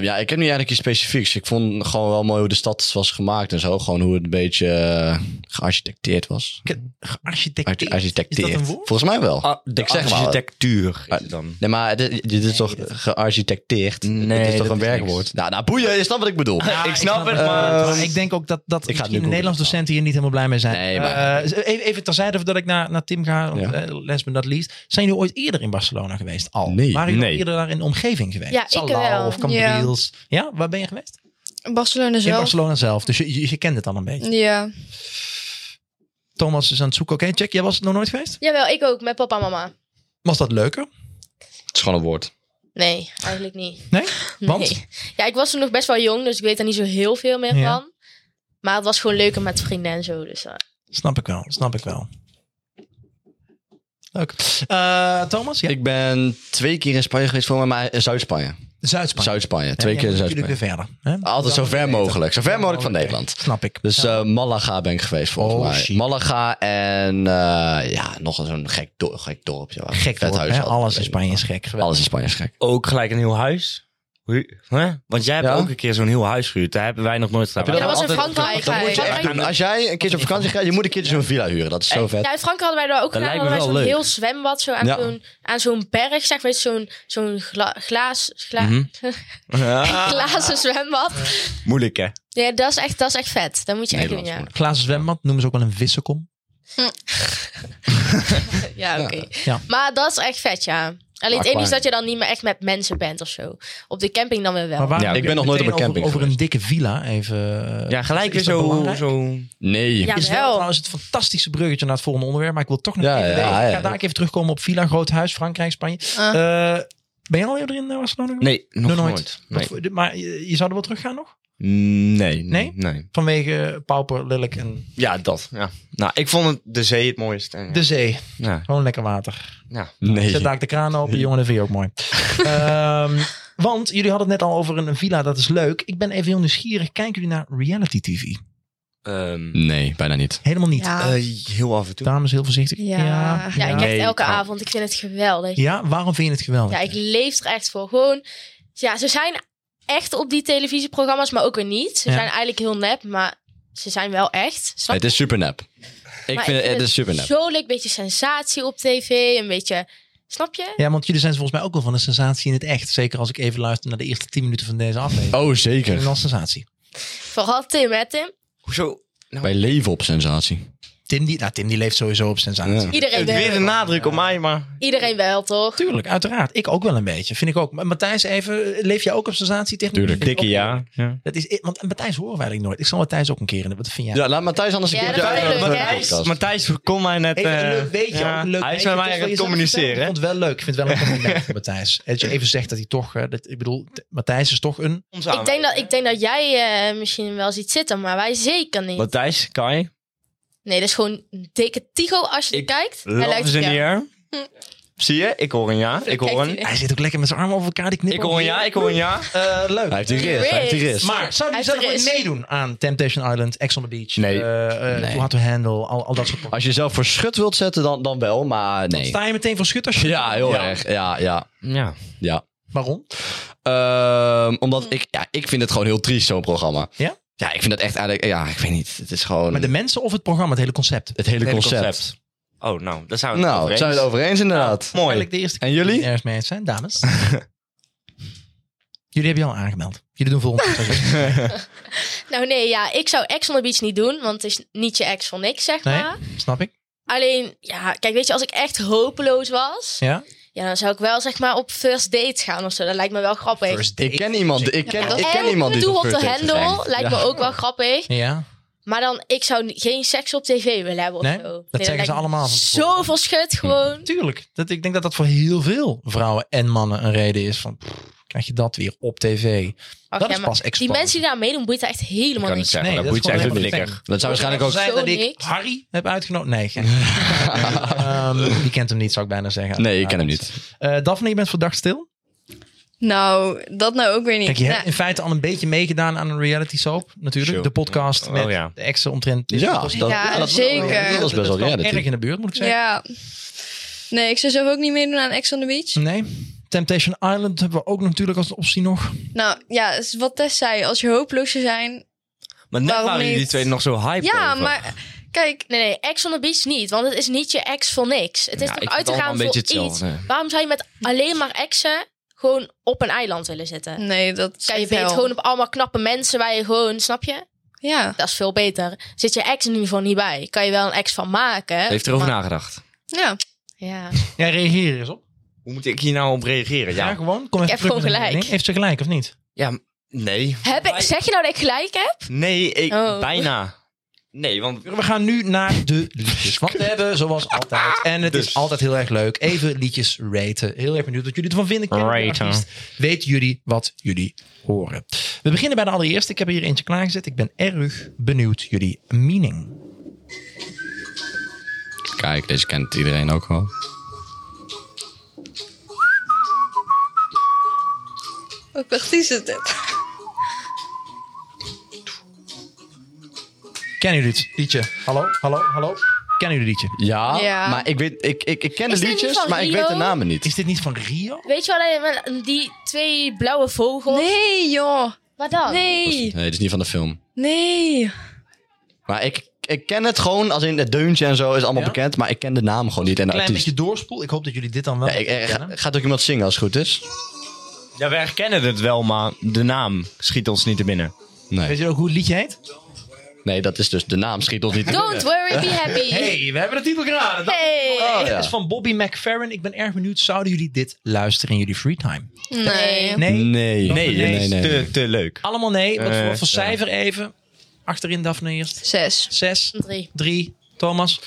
[SPEAKER 3] ja, ik heb niet eigenlijk iets specifieks. Ik vond gewoon wel mooi hoe de stad was gemaakt en zo. Gewoon hoe het een beetje eh, gearchitecteerd was.
[SPEAKER 5] Gearchitecteerd.
[SPEAKER 3] Arch- Architecteerd.
[SPEAKER 5] Is dat een woord?
[SPEAKER 3] Volgens mij wel.
[SPEAKER 6] de
[SPEAKER 3] Ah, Ik zeg maar wat.
[SPEAKER 6] architectuur is het dan.
[SPEAKER 3] Nee, maar dit, dit is toch gearchitecteerd?
[SPEAKER 6] Nee,
[SPEAKER 3] dit is toch
[SPEAKER 6] dat
[SPEAKER 3] een
[SPEAKER 6] is
[SPEAKER 3] werkwoord?
[SPEAKER 6] niks.
[SPEAKER 3] Nou, nou, boeien, je snapt wat ik bedoel.
[SPEAKER 5] Ja,
[SPEAKER 6] ik snap het, maar-
[SPEAKER 5] maar eh, ik denk ook dat, dat misschien
[SPEAKER 3] Ik ga het nu
[SPEAKER 5] de
[SPEAKER 3] googlen. dus
[SPEAKER 5] Nederlands docenten hier niet helemaal blij mee zijn.
[SPEAKER 3] Nee, maar-
[SPEAKER 5] Eh, even, even terzijde voordat ik naar, naar Tim ga, want,
[SPEAKER 3] Ja.
[SPEAKER 5] eh, last but not least. Zijn jullie ooit eerder in Barcelona geweest al?
[SPEAKER 3] Nee.
[SPEAKER 5] Waren jullie
[SPEAKER 6] Nee.
[SPEAKER 5] eerder daar in de omgeving geweest?
[SPEAKER 2] Ja, ik
[SPEAKER 5] Salou
[SPEAKER 2] wel.
[SPEAKER 5] of Cambrils. Ja. waar ben je geweest?
[SPEAKER 4] Barcelona
[SPEAKER 5] In
[SPEAKER 4] zelf.
[SPEAKER 5] Barcelona zelf, dus je, je, je kent het al een beetje.
[SPEAKER 4] Ja.
[SPEAKER 5] Thomas is aan het zoeken. Oké, check, jij was het nog nooit geweest?
[SPEAKER 2] Jawel, ik ook, met papa en mama.
[SPEAKER 5] Was dat leuker?
[SPEAKER 3] Het is gewoon een woord.
[SPEAKER 2] Nee, eigenlijk niet.
[SPEAKER 5] Nee? Want?
[SPEAKER 2] Nee. Ja, ik was toen nog best wel jong, dus ik weet daar niet zo heel veel meer
[SPEAKER 5] Ja.
[SPEAKER 2] van. Maar het was gewoon leuker met vrienden en zo. Dus, eh.
[SPEAKER 5] Snap ik wel, snap ik wel. Leuk. Eh, Thomas? Ja?
[SPEAKER 3] Ik ben twee keer in Spanje geweest, voor mij, maar eh, Zuid-Spanje.
[SPEAKER 5] Zuid-Spanje.
[SPEAKER 3] Zuid-Spanje, twee
[SPEAKER 5] Ja,
[SPEAKER 3] keer in
[SPEAKER 5] moet natuurlijk
[SPEAKER 3] Zuid-Spanje.
[SPEAKER 5] weer verder. hè?
[SPEAKER 3] Altijd zo ver mogelijk, zo ver mogelijk van
[SPEAKER 5] Oké,
[SPEAKER 3] Nederland.
[SPEAKER 5] Snap ik.
[SPEAKER 3] Dus
[SPEAKER 5] Ja.
[SPEAKER 3] eh, Malaga ben ik geweest volgens
[SPEAKER 5] Oh,
[SPEAKER 3] mij.
[SPEAKER 5] shit.
[SPEAKER 3] Malaga en eh, ja, nog eens een gek, do- gek dorpje. waar
[SPEAKER 5] gek
[SPEAKER 3] een vet
[SPEAKER 5] dorp,
[SPEAKER 3] huis
[SPEAKER 5] hè?
[SPEAKER 3] had.
[SPEAKER 5] Alles
[SPEAKER 3] Ik
[SPEAKER 5] in
[SPEAKER 3] weet
[SPEAKER 5] Spanje
[SPEAKER 3] niet
[SPEAKER 5] is gek.
[SPEAKER 3] waar. Alles in Spanje is gek.
[SPEAKER 6] Ook gelijk een nieuw huis. Hoe- Hè? Want jij hebt
[SPEAKER 3] Ja?
[SPEAKER 6] ook een keer zo'n heel huis gehuurd. Daar hebben wij nog nooit gedaan.
[SPEAKER 3] Heb je
[SPEAKER 2] Ja, dat was in Frankrijk.
[SPEAKER 3] Dat moet je echt
[SPEAKER 2] Frankrijk-
[SPEAKER 3] doen. Als jij een keertje op vakantie gaat, je moet een keertje zo'n villa huren. Dat is zo vet.
[SPEAKER 2] eh, Ja, in Frankrijk hadden wij daar ook
[SPEAKER 6] Dat
[SPEAKER 2] gedaan.
[SPEAKER 6] lijkt me
[SPEAKER 2] Hadden wij zo'n
[SPEAKER 6] wel leuk.
[SPEAKER 2] heel zwembad zo aan
[SPEAKER 3] Ja.
[SPEAKER 2] zo'n aan zo'n berg, zeg maar, zo'n zo'n gla- glaas, gla-
[SPEAKER 5] Mhm.
[SPEAKER 2] glazen zwembad.
[SPEAKER 6] Moeilijk, hè?
[SPEAKER 2] Ja, dat is echt, dat is echt vet. Dat moet je echt doen,
[SPEAKER 3] Nederlands
[SPEAKER 2] ja.
[SPEAKER 3] woord.
[SPEAKER 5] Glazen zwembad noemen ze ook wel een vissenkom.
[SPEAKER 2] Ja, oké.
[SPEAKER 5] Ja.
[SPEAKER 2] Maar dat is echt vet, ja. Alleen het enige is dat je dan niet meer echt met mensen bent of zo. Op de camping dan weer wel.
[SPEAKER 5] Maar waar-
[SPEAKER 3] Ja, ik ben nog nooit op een
[SPEAKER 5] meteen
[SPEAKER 3] camping
[SPEAKER 5] Over, over een
[SPEAKER 3] geweest.
[SPEAKER 5] dikke villa even. eh,
[SPEAKER 6] Ja, gelijk
[SPEAKER 5] is
[SPEAKER 6] weer
[SPEAKER 5] dat
[SPEAKER 6] zo...
[SPEAKER 5] belangrijk?
[SPEAKER 6] zo...
[SPEAKER 3] Nee.
[SPEAKER 2] Ja,
[SPEAKER 5] Is wel trouwens het fantastische bruggetje naar het volgende onderwerp. Maar ik wil toch nog
[SPEAKER 3] Ja,
[SPEAKER 5] even
[SPEAKER 3] ja,
[SPEAKER 5] weten.
[SPEAKER 3] ja,
[SPEAKER 5] Ik ga
[SPEAKER 3] ja.
[SPEAKER 5] daar even terugkomen op villa, groot huis, Frankrijk, Spanje.
[SPEAKER 4] Ah.
[SPEAKER 5] Eh, ben je al eerder in eh, Barcelona? geweest?
[SPEAKER 6] Nee, nog,
[SPEAKER 5] Nog nooit.
[SPEAKER 6] nooit.
[SPEAKER 5] Wat voor- de- Maar je, je zou er wel teruggaan nog?
[SPEAKER 6] Nee.
[SPEAKER 5] Nee? Vanwege eh, pauper, lelijk en
[SPEAKER 6] Ja, dat. Ja. Nou, ik vond het, de zee het mooiste. En, ja.
[SPEAKER 5] de zee.
[SPEAKER 6] Ja.
[SPEAKER 5] Gewoon lekker water.
[SPEAKER 6] Ja.
[SPEAKER 3] Nee.
[SPEAKER 5] Zet daar de kraan open, jongen, dat vind je ook mooi. Ehm, want jullie hadden het net al over een villa, dat is leuk. Ik ben even heel nieuwsgierig. Kijken jullie naar reality TV?
[SPEAKER 6] Ehm,
[SPEAKER 3] Nee, bijna niet.
[SPEAKER 5] Helemaal niet.
[SPEAKER 4] Ja.
[SPEAKER 6] eh, heel af en toe.
[SPEAKER 5] Dames, heel voorzichtig.
[SPEAKER 4] Ja.
[SPEAKER 5] Ja,
[SPEAKER 2] Ja, ik
[SPEAKER 5] ja.
[SPEAKER 2] echt
[SPEAKER 6] Nee,
[SPEAKER 2] elke
[SPEAKER 6] ik hou-
[SPEAKER 2] avond. Ik vind het geweldig.
[SPEAKER 5] Ja, waarom vind je het geweldig?
[SPEAKER 2] Ja, ik leef er echt voor. Gewoon, ja, ze zijn echt op die televisieprogramma's, maar ook weer niet. Ze
[SPEAKER 5] Ja.
[SPEAKER 2] zijn eigenlijk heel nep, maar ze zijn wel echt. Snap
[SPEAKER 3] Het is super nap. Ik
[SPEAKER 2] Maar
[SPEAKER 3] vind het, het is super nep.
[SPEAKER 2] Zo leuk, beetje sensatie op tv, een beetje, snap je?
[SPEAKER 5] Ja, want jullie zijn volgens mij ook wel van een sensatie in het echt. Zeker als ik even luister naar de eerste 10 minuten van deze aflevering.
[SPEAKER 3] Oh,
[SPEAKER 5] Een
[SPEAKER 3] zeker.
[SPEAKER 5] sensatie.
[SPEAKER 2] Vooral Tim, hè Tim?
[SPEAKER 6] Hoezo?
[SPEAKER 3] Wij leven op sensatie.
[SPEAKER 5] Tim die, nou, Tim die leeft sowieso op sensatie.
[SPEAKER 3] Ja.
[SPEAKER 2] Iedereen
[SPEAKER 6] Weer
[SPEAKER 2] wel.
[SPEAKER 6] een nadruk op mij, maar...
[SPEAKER 2] Iedereen wel, toch?
[SPEAKER 5] Tuurlijk, uiteraard. Ik ook wel een beetje. Vind ik ook. Maar Matthijs, even, leef jij ook op sensatie tegen
[SPEAKER 3] Tuurlijk.
[SPEAKER 6] Dikke ja. ja.
[SPEAKER 5] Dat is, want Matthijs horen we eigenlijk nooit. Ik zal Matthijs ook een keer in. de- Wat vind jij?
[SPEAKER 3] Ja, laat Matthijs anders een
[SPEAKER 2] Ja,
[SPEAKER 3] keertje
[SPEAKER 2] dat vind ik
[SPEAKER 3] uitnodigen
[SPEAKER 2] leuk,
[SPEAKER 3] voor
[SPEAKER 2] hè?
[SPEAKER 3] de podcast.
[SPEAKER 6] Matthijs kon mij net...
[SPEAKER 5] Even een
[SPEAKER 6] eh,
[SPEAKER 5] leuk weetje.
[SPEAKER 6] ja.
[SPEAKER 5] ook een leuk
[SPEAKER 6] Hij is
[SPEAKER 5] weetje.
[SPEAKER 6] met
[SPEAKER 5] Toch
[SPEAKER 6] mij aan
[SPEAKER 5] wel
[SPEAKER 6] het
[SPEAKER 5] jezelf vertellen. Ik
[SPEAKER 6] communiceren. hè?
[SPEAKER 5] vond het wel leuk. Ik vind het wel een compliment van Matthijs. Dat je even zegt dat hij toch... eh, dat, ik bedoel, t- Matthijs is toch een...
[SPEAKER 6] Ons
[SPEAKER 2] Ik denk, dat, ik denk dat jij eh, misschien wel ziet zitten, maar wij zeker niet.
[SPEAKER 6] Matthijs, Kai,
[SPEAKER 2] Nee, dat is gewoon een dikke Tigo als je
[SPEAKER 6] Ik
[SPEAKER 2] kijkt. Hij
[SPEAKER 6] love
[SPEAKER 2] lijkt
[SPEAKER 6] is in
[SPEAKER 2] op
[SPEAKER 6] the
[SPEAKER 2] jou.
[SPEAKER 6] air. Zie je? Ik hoor een ja. Ik hoor
[SPEAKER 2] Kijkt
[SPEAKER 6] een...
[SPEAKER 2] hij
[SPEAKER 5] Hij zit ook lekker met zijn armen over elkaar. Die
[SPEAKER 6] Ik
[SPEAKER 5] knippen.
[SPEAKER 6] hoor een ja, ik hoor een ja.
[SPEAKER 5] Eh, leuk.
[SPEAKER 3] Hij heeft die rest. Hij heeft die rest.
[SPEAKER 5] Maar Dus zou
[SPEAKER 2] Hij
[SPEAKER 5] je
[SPEAKER 2] heeft
[SPEAKER 5] zelf
[SPEAKER 2] er
[SPEAKER 5] ooit
[SPEAKER 2] is.
[SPEAKER 5] meedoen aan Temptation Island, Ex on the Beach,
[SPEAKER 3] Nee.
[SPEAKER 5] eh, eh,
[SPEAKER 3] Nee.
[SPEAKER 5] Too Hard to Handle, al, al dat soort programma's?
[SPEAKER 3] Als je jezelf voor schut wilt zetten, dan, dan wel, maar nee.
[SPEAKER 5] Sta je meteen voor schut als je...
[SPEAKER 3] Ja, heel erg. Ja, ja,
[SPEAKER 6] Ja.
[SPEAKER 3] ja.
[SPEAKER 5] Waarom?
[SPEAKER 3] Ehm, omdat ik, ja, ik vind het gewoon heel triest, zo'n programma.
[SPEAKER 5] Ja?
[SPEAKER 3] Ja, ik vind dat echt eigenlijk, ja, ik weet niet. Het is gewoon
[SPEAKER 5] Maar de mensen of het programma, het hele concept?
[SPEAKER 3] het hele
[SPEAKER 6] hele
[SPEAKER 3] concept.
[SPEAKER 6] concept. Oh, nou, daar zijn we het
[SPEAKER 3] Nou,
[SPEAKER 6] over
[SPEAKER 3] het zijn we
[SPEAKER 6] eens.
[SPEAKER 3] het over eens inderdaad.
[SPEAKER 6] Mooi.
[SPEAKER 5] Eigenlijk de eerste
[SPEAKER 3] En jullie?
[SPEAKER 5] die ergens mee eens zijn, dames. jullie hebben je al aangemeld. Jullie doen volgende keer zo.
[SPEAKER 2] Nou nee, ja, ik zou ex on the beach niet doen, want het is niet je ex van niks, zeg
[SPEAKER 5] Nee?
[SPEAKER 2] maar.
[SPEAKER 5] Snap ik?
[SPEAKER 2] Alleen, ja, kijk, weet je, als ik echt hopeloos was,
[SPEAKER 5] Ja?
[SPEAKER 2] ja, dan zou ik wel zeg maar op first date gaan of zo. Dat lijkt me wel grappig.
[SPEAKER 3] Ik ken iemand, ik ken, ik ken
[SPEAKER 2] en
[SPEAKER 3] iemand die
[SPEAKER 2] Doe
[SPEAKER 3] zo'n
[SPEAKER 2] op de
[SPEAKER 3] first date heeft.
[SPEAKER 2] hendel lijkt me ook wel grappig.
[SPEAKER 5] Ja?
[SPEAKER 2] Maar dan, ik zou ni- geen seks op tv willen hebben of
[SPEAKER 5] Nee,
[SPEAKER 2] zo.
[SPEAKER 5] dat
[SPEAKER 2] lijkt
[SPEAKER 5] zeggen ze
[SPEAKER 2] me
[SPEAKER 5] allemaal van tevoren. Hm.
[SPEAKER 2] Zoveel schut gewoon.
[SPEAKER 5] Tuurlijk. Dat, ik denk dat dat voor heel veel vrouwen en mannen een reden is van... pff, krijg je dat weer op tv?
[SPEAKER 2] Ach,
[SPEAKER 5] dat
[SPEAKER 2] ja,
[SPEAKER 5] is
[SPEAKER 2] maar
[SPEAKER 5] pas extra.
[SPEAKER 2] Die mensen die daar meedoen, boeit daar echt
[SPEAKER 6] Ik
[SPEAKER 2] helemaal
[SPEAKER 6] kan niet
[SPEAKER 2] niks.
[SPEAKER 6] zeggen,
[SPEAKER 5] Nee,
[SPEAKER 6] dat
[SPEAKER 5] dat is
[SPEAKER 6] boeit ze echt een
[SPEAKER 5] gewoon helemaal
[SPEAKER 6] flikker.
[SPEAKER 3] Dat zou waarschijnlijk ook...
[SPEAKER 5] zei
[SPEAKER 2] Zo
[SPEAKER 5] dat ik
[SPEAKER 2] niks.
[SPEAKER 5] Harry heb uitgenodigd. Nee, geen- Ehm, die kent hem niet, zou ik bijna zeggen.
[SPEAKER 3] Nee, ik ken hem niet.
[SPEAKER 5] Eh, Daphne, je bent verdacht stil.
[SPEAKER 4] Nou, dat nou ook weer niet.
[SPEAKER 5] Kijk, je hebt
[SPEAKER 4] Nou,
[SPEAKER 5] in feite al een beetje meegedaan aan een reality soap. Natuurlijk,
[SPEAKER 6] Sure.
[SPEAKER 5] de podcast
[SPEAKER 6] Oh,
[SPEAKER 5] met
[SPEAKER 6] ja.
[SPEAKER 5] de exen omtrent.
[SPEAKER 3] Ja, dat,
[SPEAKER 4] Ja,
[SPEAKER 3] dat-
[SPEAKER 4] zeker.
[SPEAKER 3] Dat was best wel
[SPEAKER 5] kwam
[SPEAKER 3] reality.
[SPEAKER 5] erg in de buurt, moet ik zeggen. Hm.
[SPEAKER 4] ja. Nee, ik zou zelf ook niet meedoen aan Ex on the Beach.
[SPEAKER 5] Nee, Temptation Island hebben we ook natuurlijk als een optie nog.
[SPEAKER 4] Nou ja, is wat Tess zei, als je hopeloos zou zijn.
[SPEAKER 6] Maar net
[SPEAKER 4] Waarom
[SPEAKER 6] waren jullie
[SPEAKER 4] niet?
[SPEAKER 6] twee nog zo hype
[SPEAKER 4] Ja,
[SPEAKER 6] over.
[SPEAKER 4] maar kijk,
[SPEAKER 2] Nee, nee, ex on the beach niet. Want het is niet je ex voor niks. Het is
[SPEAKER 6] Ja,
[SPEAKER 2] toch
[SPEAKER 6] ik vind
[SPEAKER 2] uit te
[SPEAKER 6] het allemaal
[SPEAKER 2] gaan
[SPEAKER 6] een
[SPEAKER 2] voor
[SPEAKER 6] beetje
[SPEAKER 2] iets.
[SPEAKER 6] hetzelfde.
[SPEAKER 2] Waarom zou je met alleen maar exen gewoon op een eiland willen zitten?
[SPEAKER 4] nee, dat is
[SPEAKER 2] Kijk, je
[SPEAKER 4] echt
[SPEAKER 2] weet
[SPEAKER 4] hel.
[SPEAKER 2] gewoon op allemaal knappe mensen waar je gewoon, snap je?
[SPEAKER 4] Ja,
[SPEAKER 2] Dat is veel beter. Zit je ex in ieder geval niet bij. Kan je wel een ex van maken.
[SPEAKER 6] Heeft erover
[SPEAKER 2] Eh, maar-
[SPEAKER 6] nagedacht.
[SPEAKER 4] ja.
[SPEAKER 2] Ja.
[SPEAKER 5] Ja, reageer eens op.
[SPEAKER 6] Hoe moet ik hier nou op reageren?
[SPEAKER 5] Ja,
[SPEAKER 6] Ja,
[SPEAKER 5] gewoon. Kom even
[SPEAKER 2] Ik heb
[SPEAKER 5] terug met
[SPEAKER 2] gewoon
[SPEAKER 5] een mening.
[SPEAKER 2] gelijk.
[SPEAKER 5] Heeft ze gelijk of niet?
[SPEAKER 6] ja nee.
[SPEAKER 2] Heb ik, zeg je nou dat ik gelijk heb?
[SPEAKER 6] Nee, ik,
[SPEAKER 2] Oh.
[SPEAKER 6] bijna. Nee, want
[SPEAKER 5] We gaan nu naar de liedjes. Want we hebben, zoals altijd, en het is
[SPEAKER 6] Dus.
[SPEAKER 5] altijd heel erg leuk, even liedjes raten. Heel erg benieuwd wat jullie ervan vinden. Kennen jullie de
[SPEAKER 6] Raten.
[SPEAKER 5] artiest? Weten jullie wat jullie horen? We beginnen bij de allereerste. Ik heb er hier eentje klaargezet. Ik ben erg benieuwd jullie mening.
[SPEAKER 3] Kijk, deze kent iedereen ook wel.
[SPEAKER 4] Ook wat is het dit?
[SPEAKER 5] Kennen jullie het liedje? Hallo, hallo, hallo. Kennen jullie het liedje?
[SPEAKER 3] Ja,
[SPEAKER 4] Ja.
[SPEAKER 3] maar ik, weet, ik, ik, ik ken
[SPEAKER 2] Is
[SPEAKER 3] de
[SPEAKER 2] dit niet
[SPEAKER 3] liedjes,
[SPEAKER 2] van
[SPEAKER 3] maar ik
[SPEAKER 2] Rio?
[SPEAKER 3] weet de namen
[SPEAKER 5] Is
[SPEAKER 3] niet.
[SPEAKER 5] dit niet van Rio?
[SPEAKER 2] Weet je wel, eh, met die twee blauwe vogels?
[SPEAKER 4] Nee, joh.
[SPEAKER 2] Wat dan?
[SPEAKER 4] Nee.
[SPEAKER 3] Nee, dit is niet van de film.
[SPEAKER 4] Nee.
[SPEAKER 3] Maar ik, ik ken het gewoon, als in het deuntje en zo is allemaal
[SPEAKER 5] Ja?
[SPEAKER 3] bekend, maar ik ken de naam gewoon niet en de
[SPEAKER 5] Klein
[SPEAKER 3] artiest.
[SPEAKER 5] beetje doorspoel. Ik hoop dat jullie dit dan wel
[SPEAKER 3] Ja, ik, er-
[SPEAKER 5] kennen.
[SPEAKER 3] gaat ook iemand zingen als het goed is?
[SPEAKER 6] ja, we herkennen het wel, maar de naam schiet ons niet te binnen.
[SPEAKER 5] Weet
[SPEAKER 3] Nee,
[SPEAKER 5] je ook hoe het liedje heet?
[SPEAKER 3] nee dat is dus de naam schiet ons niet te
[SPEAKER 2] Don't worry, be happy.
[SPEAKER 5] hey, we hebben de titel geraden. Dat-
[SPEAKER 2] Hey.
[SPEAKER 3] Oh,
[SPEAKER 5] Het
[SPEAKER 3] ja.
[SPEAKER 5] is van Bobby McFerrin. Ik ben erg benieuwd. Zouden jullie dit luisteren in jullie free time?
[SPEAKER 4] Nee.
[SPEAKER 5] Nee.
[SPEAKER 3] Nee, nee,
[SPEAKER 5] Nee,
[SPEAKER 3] nee.
[SPEAKER 5] nee,
[SPEAKER 3] nee,
[SPEAKER 6] Te, te leuk.
[SPEAKER 5] Allemaal nee. Wat, voor-
[SPEAKER 6] Eh,
[SPEAKER 5] wat voor cijfer even? Achterin Daphne eerst.
[SPEAKER 4] Zes.
[SPEAKER 5] Zes,
[SPEAKER 2] Drie.
[SPEAKER 5] drie, Thomas,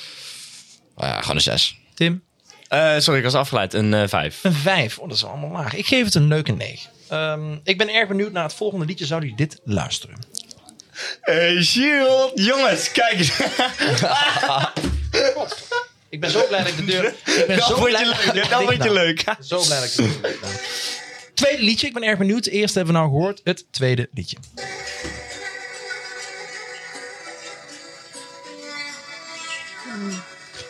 [SPEAKER 6] Oh
[SPEAKER 3] Ja, gewoon een zes.
[SPEAKER 5] Tim.
[SPEAKER 6] Eh, sorry, ik was afgeleid. Een eh, vijf.
[SPEAKER 5] Een vijf. Oh, dat is allemaal laag. Ik geef het een leuke negen. Ehm, ik ben erg benieuwd naar het volgende liedje. Zouden jullie dit luisteren?
[SPEAKER 6] Hey, Shield. Jongens, kijk eens.
[SPEAKER 5] Ik ben zo blij dat ik de deur... Ik ben zo blij ik dit nou-
[SPEAKER 6] leuk.
[SPEAKER 5] Zo blij dat ik de deur heb gedaan. Tweede liedje. Ik ben erg benieuwd. Eerst hebben we nou gehoord het tweede liedje.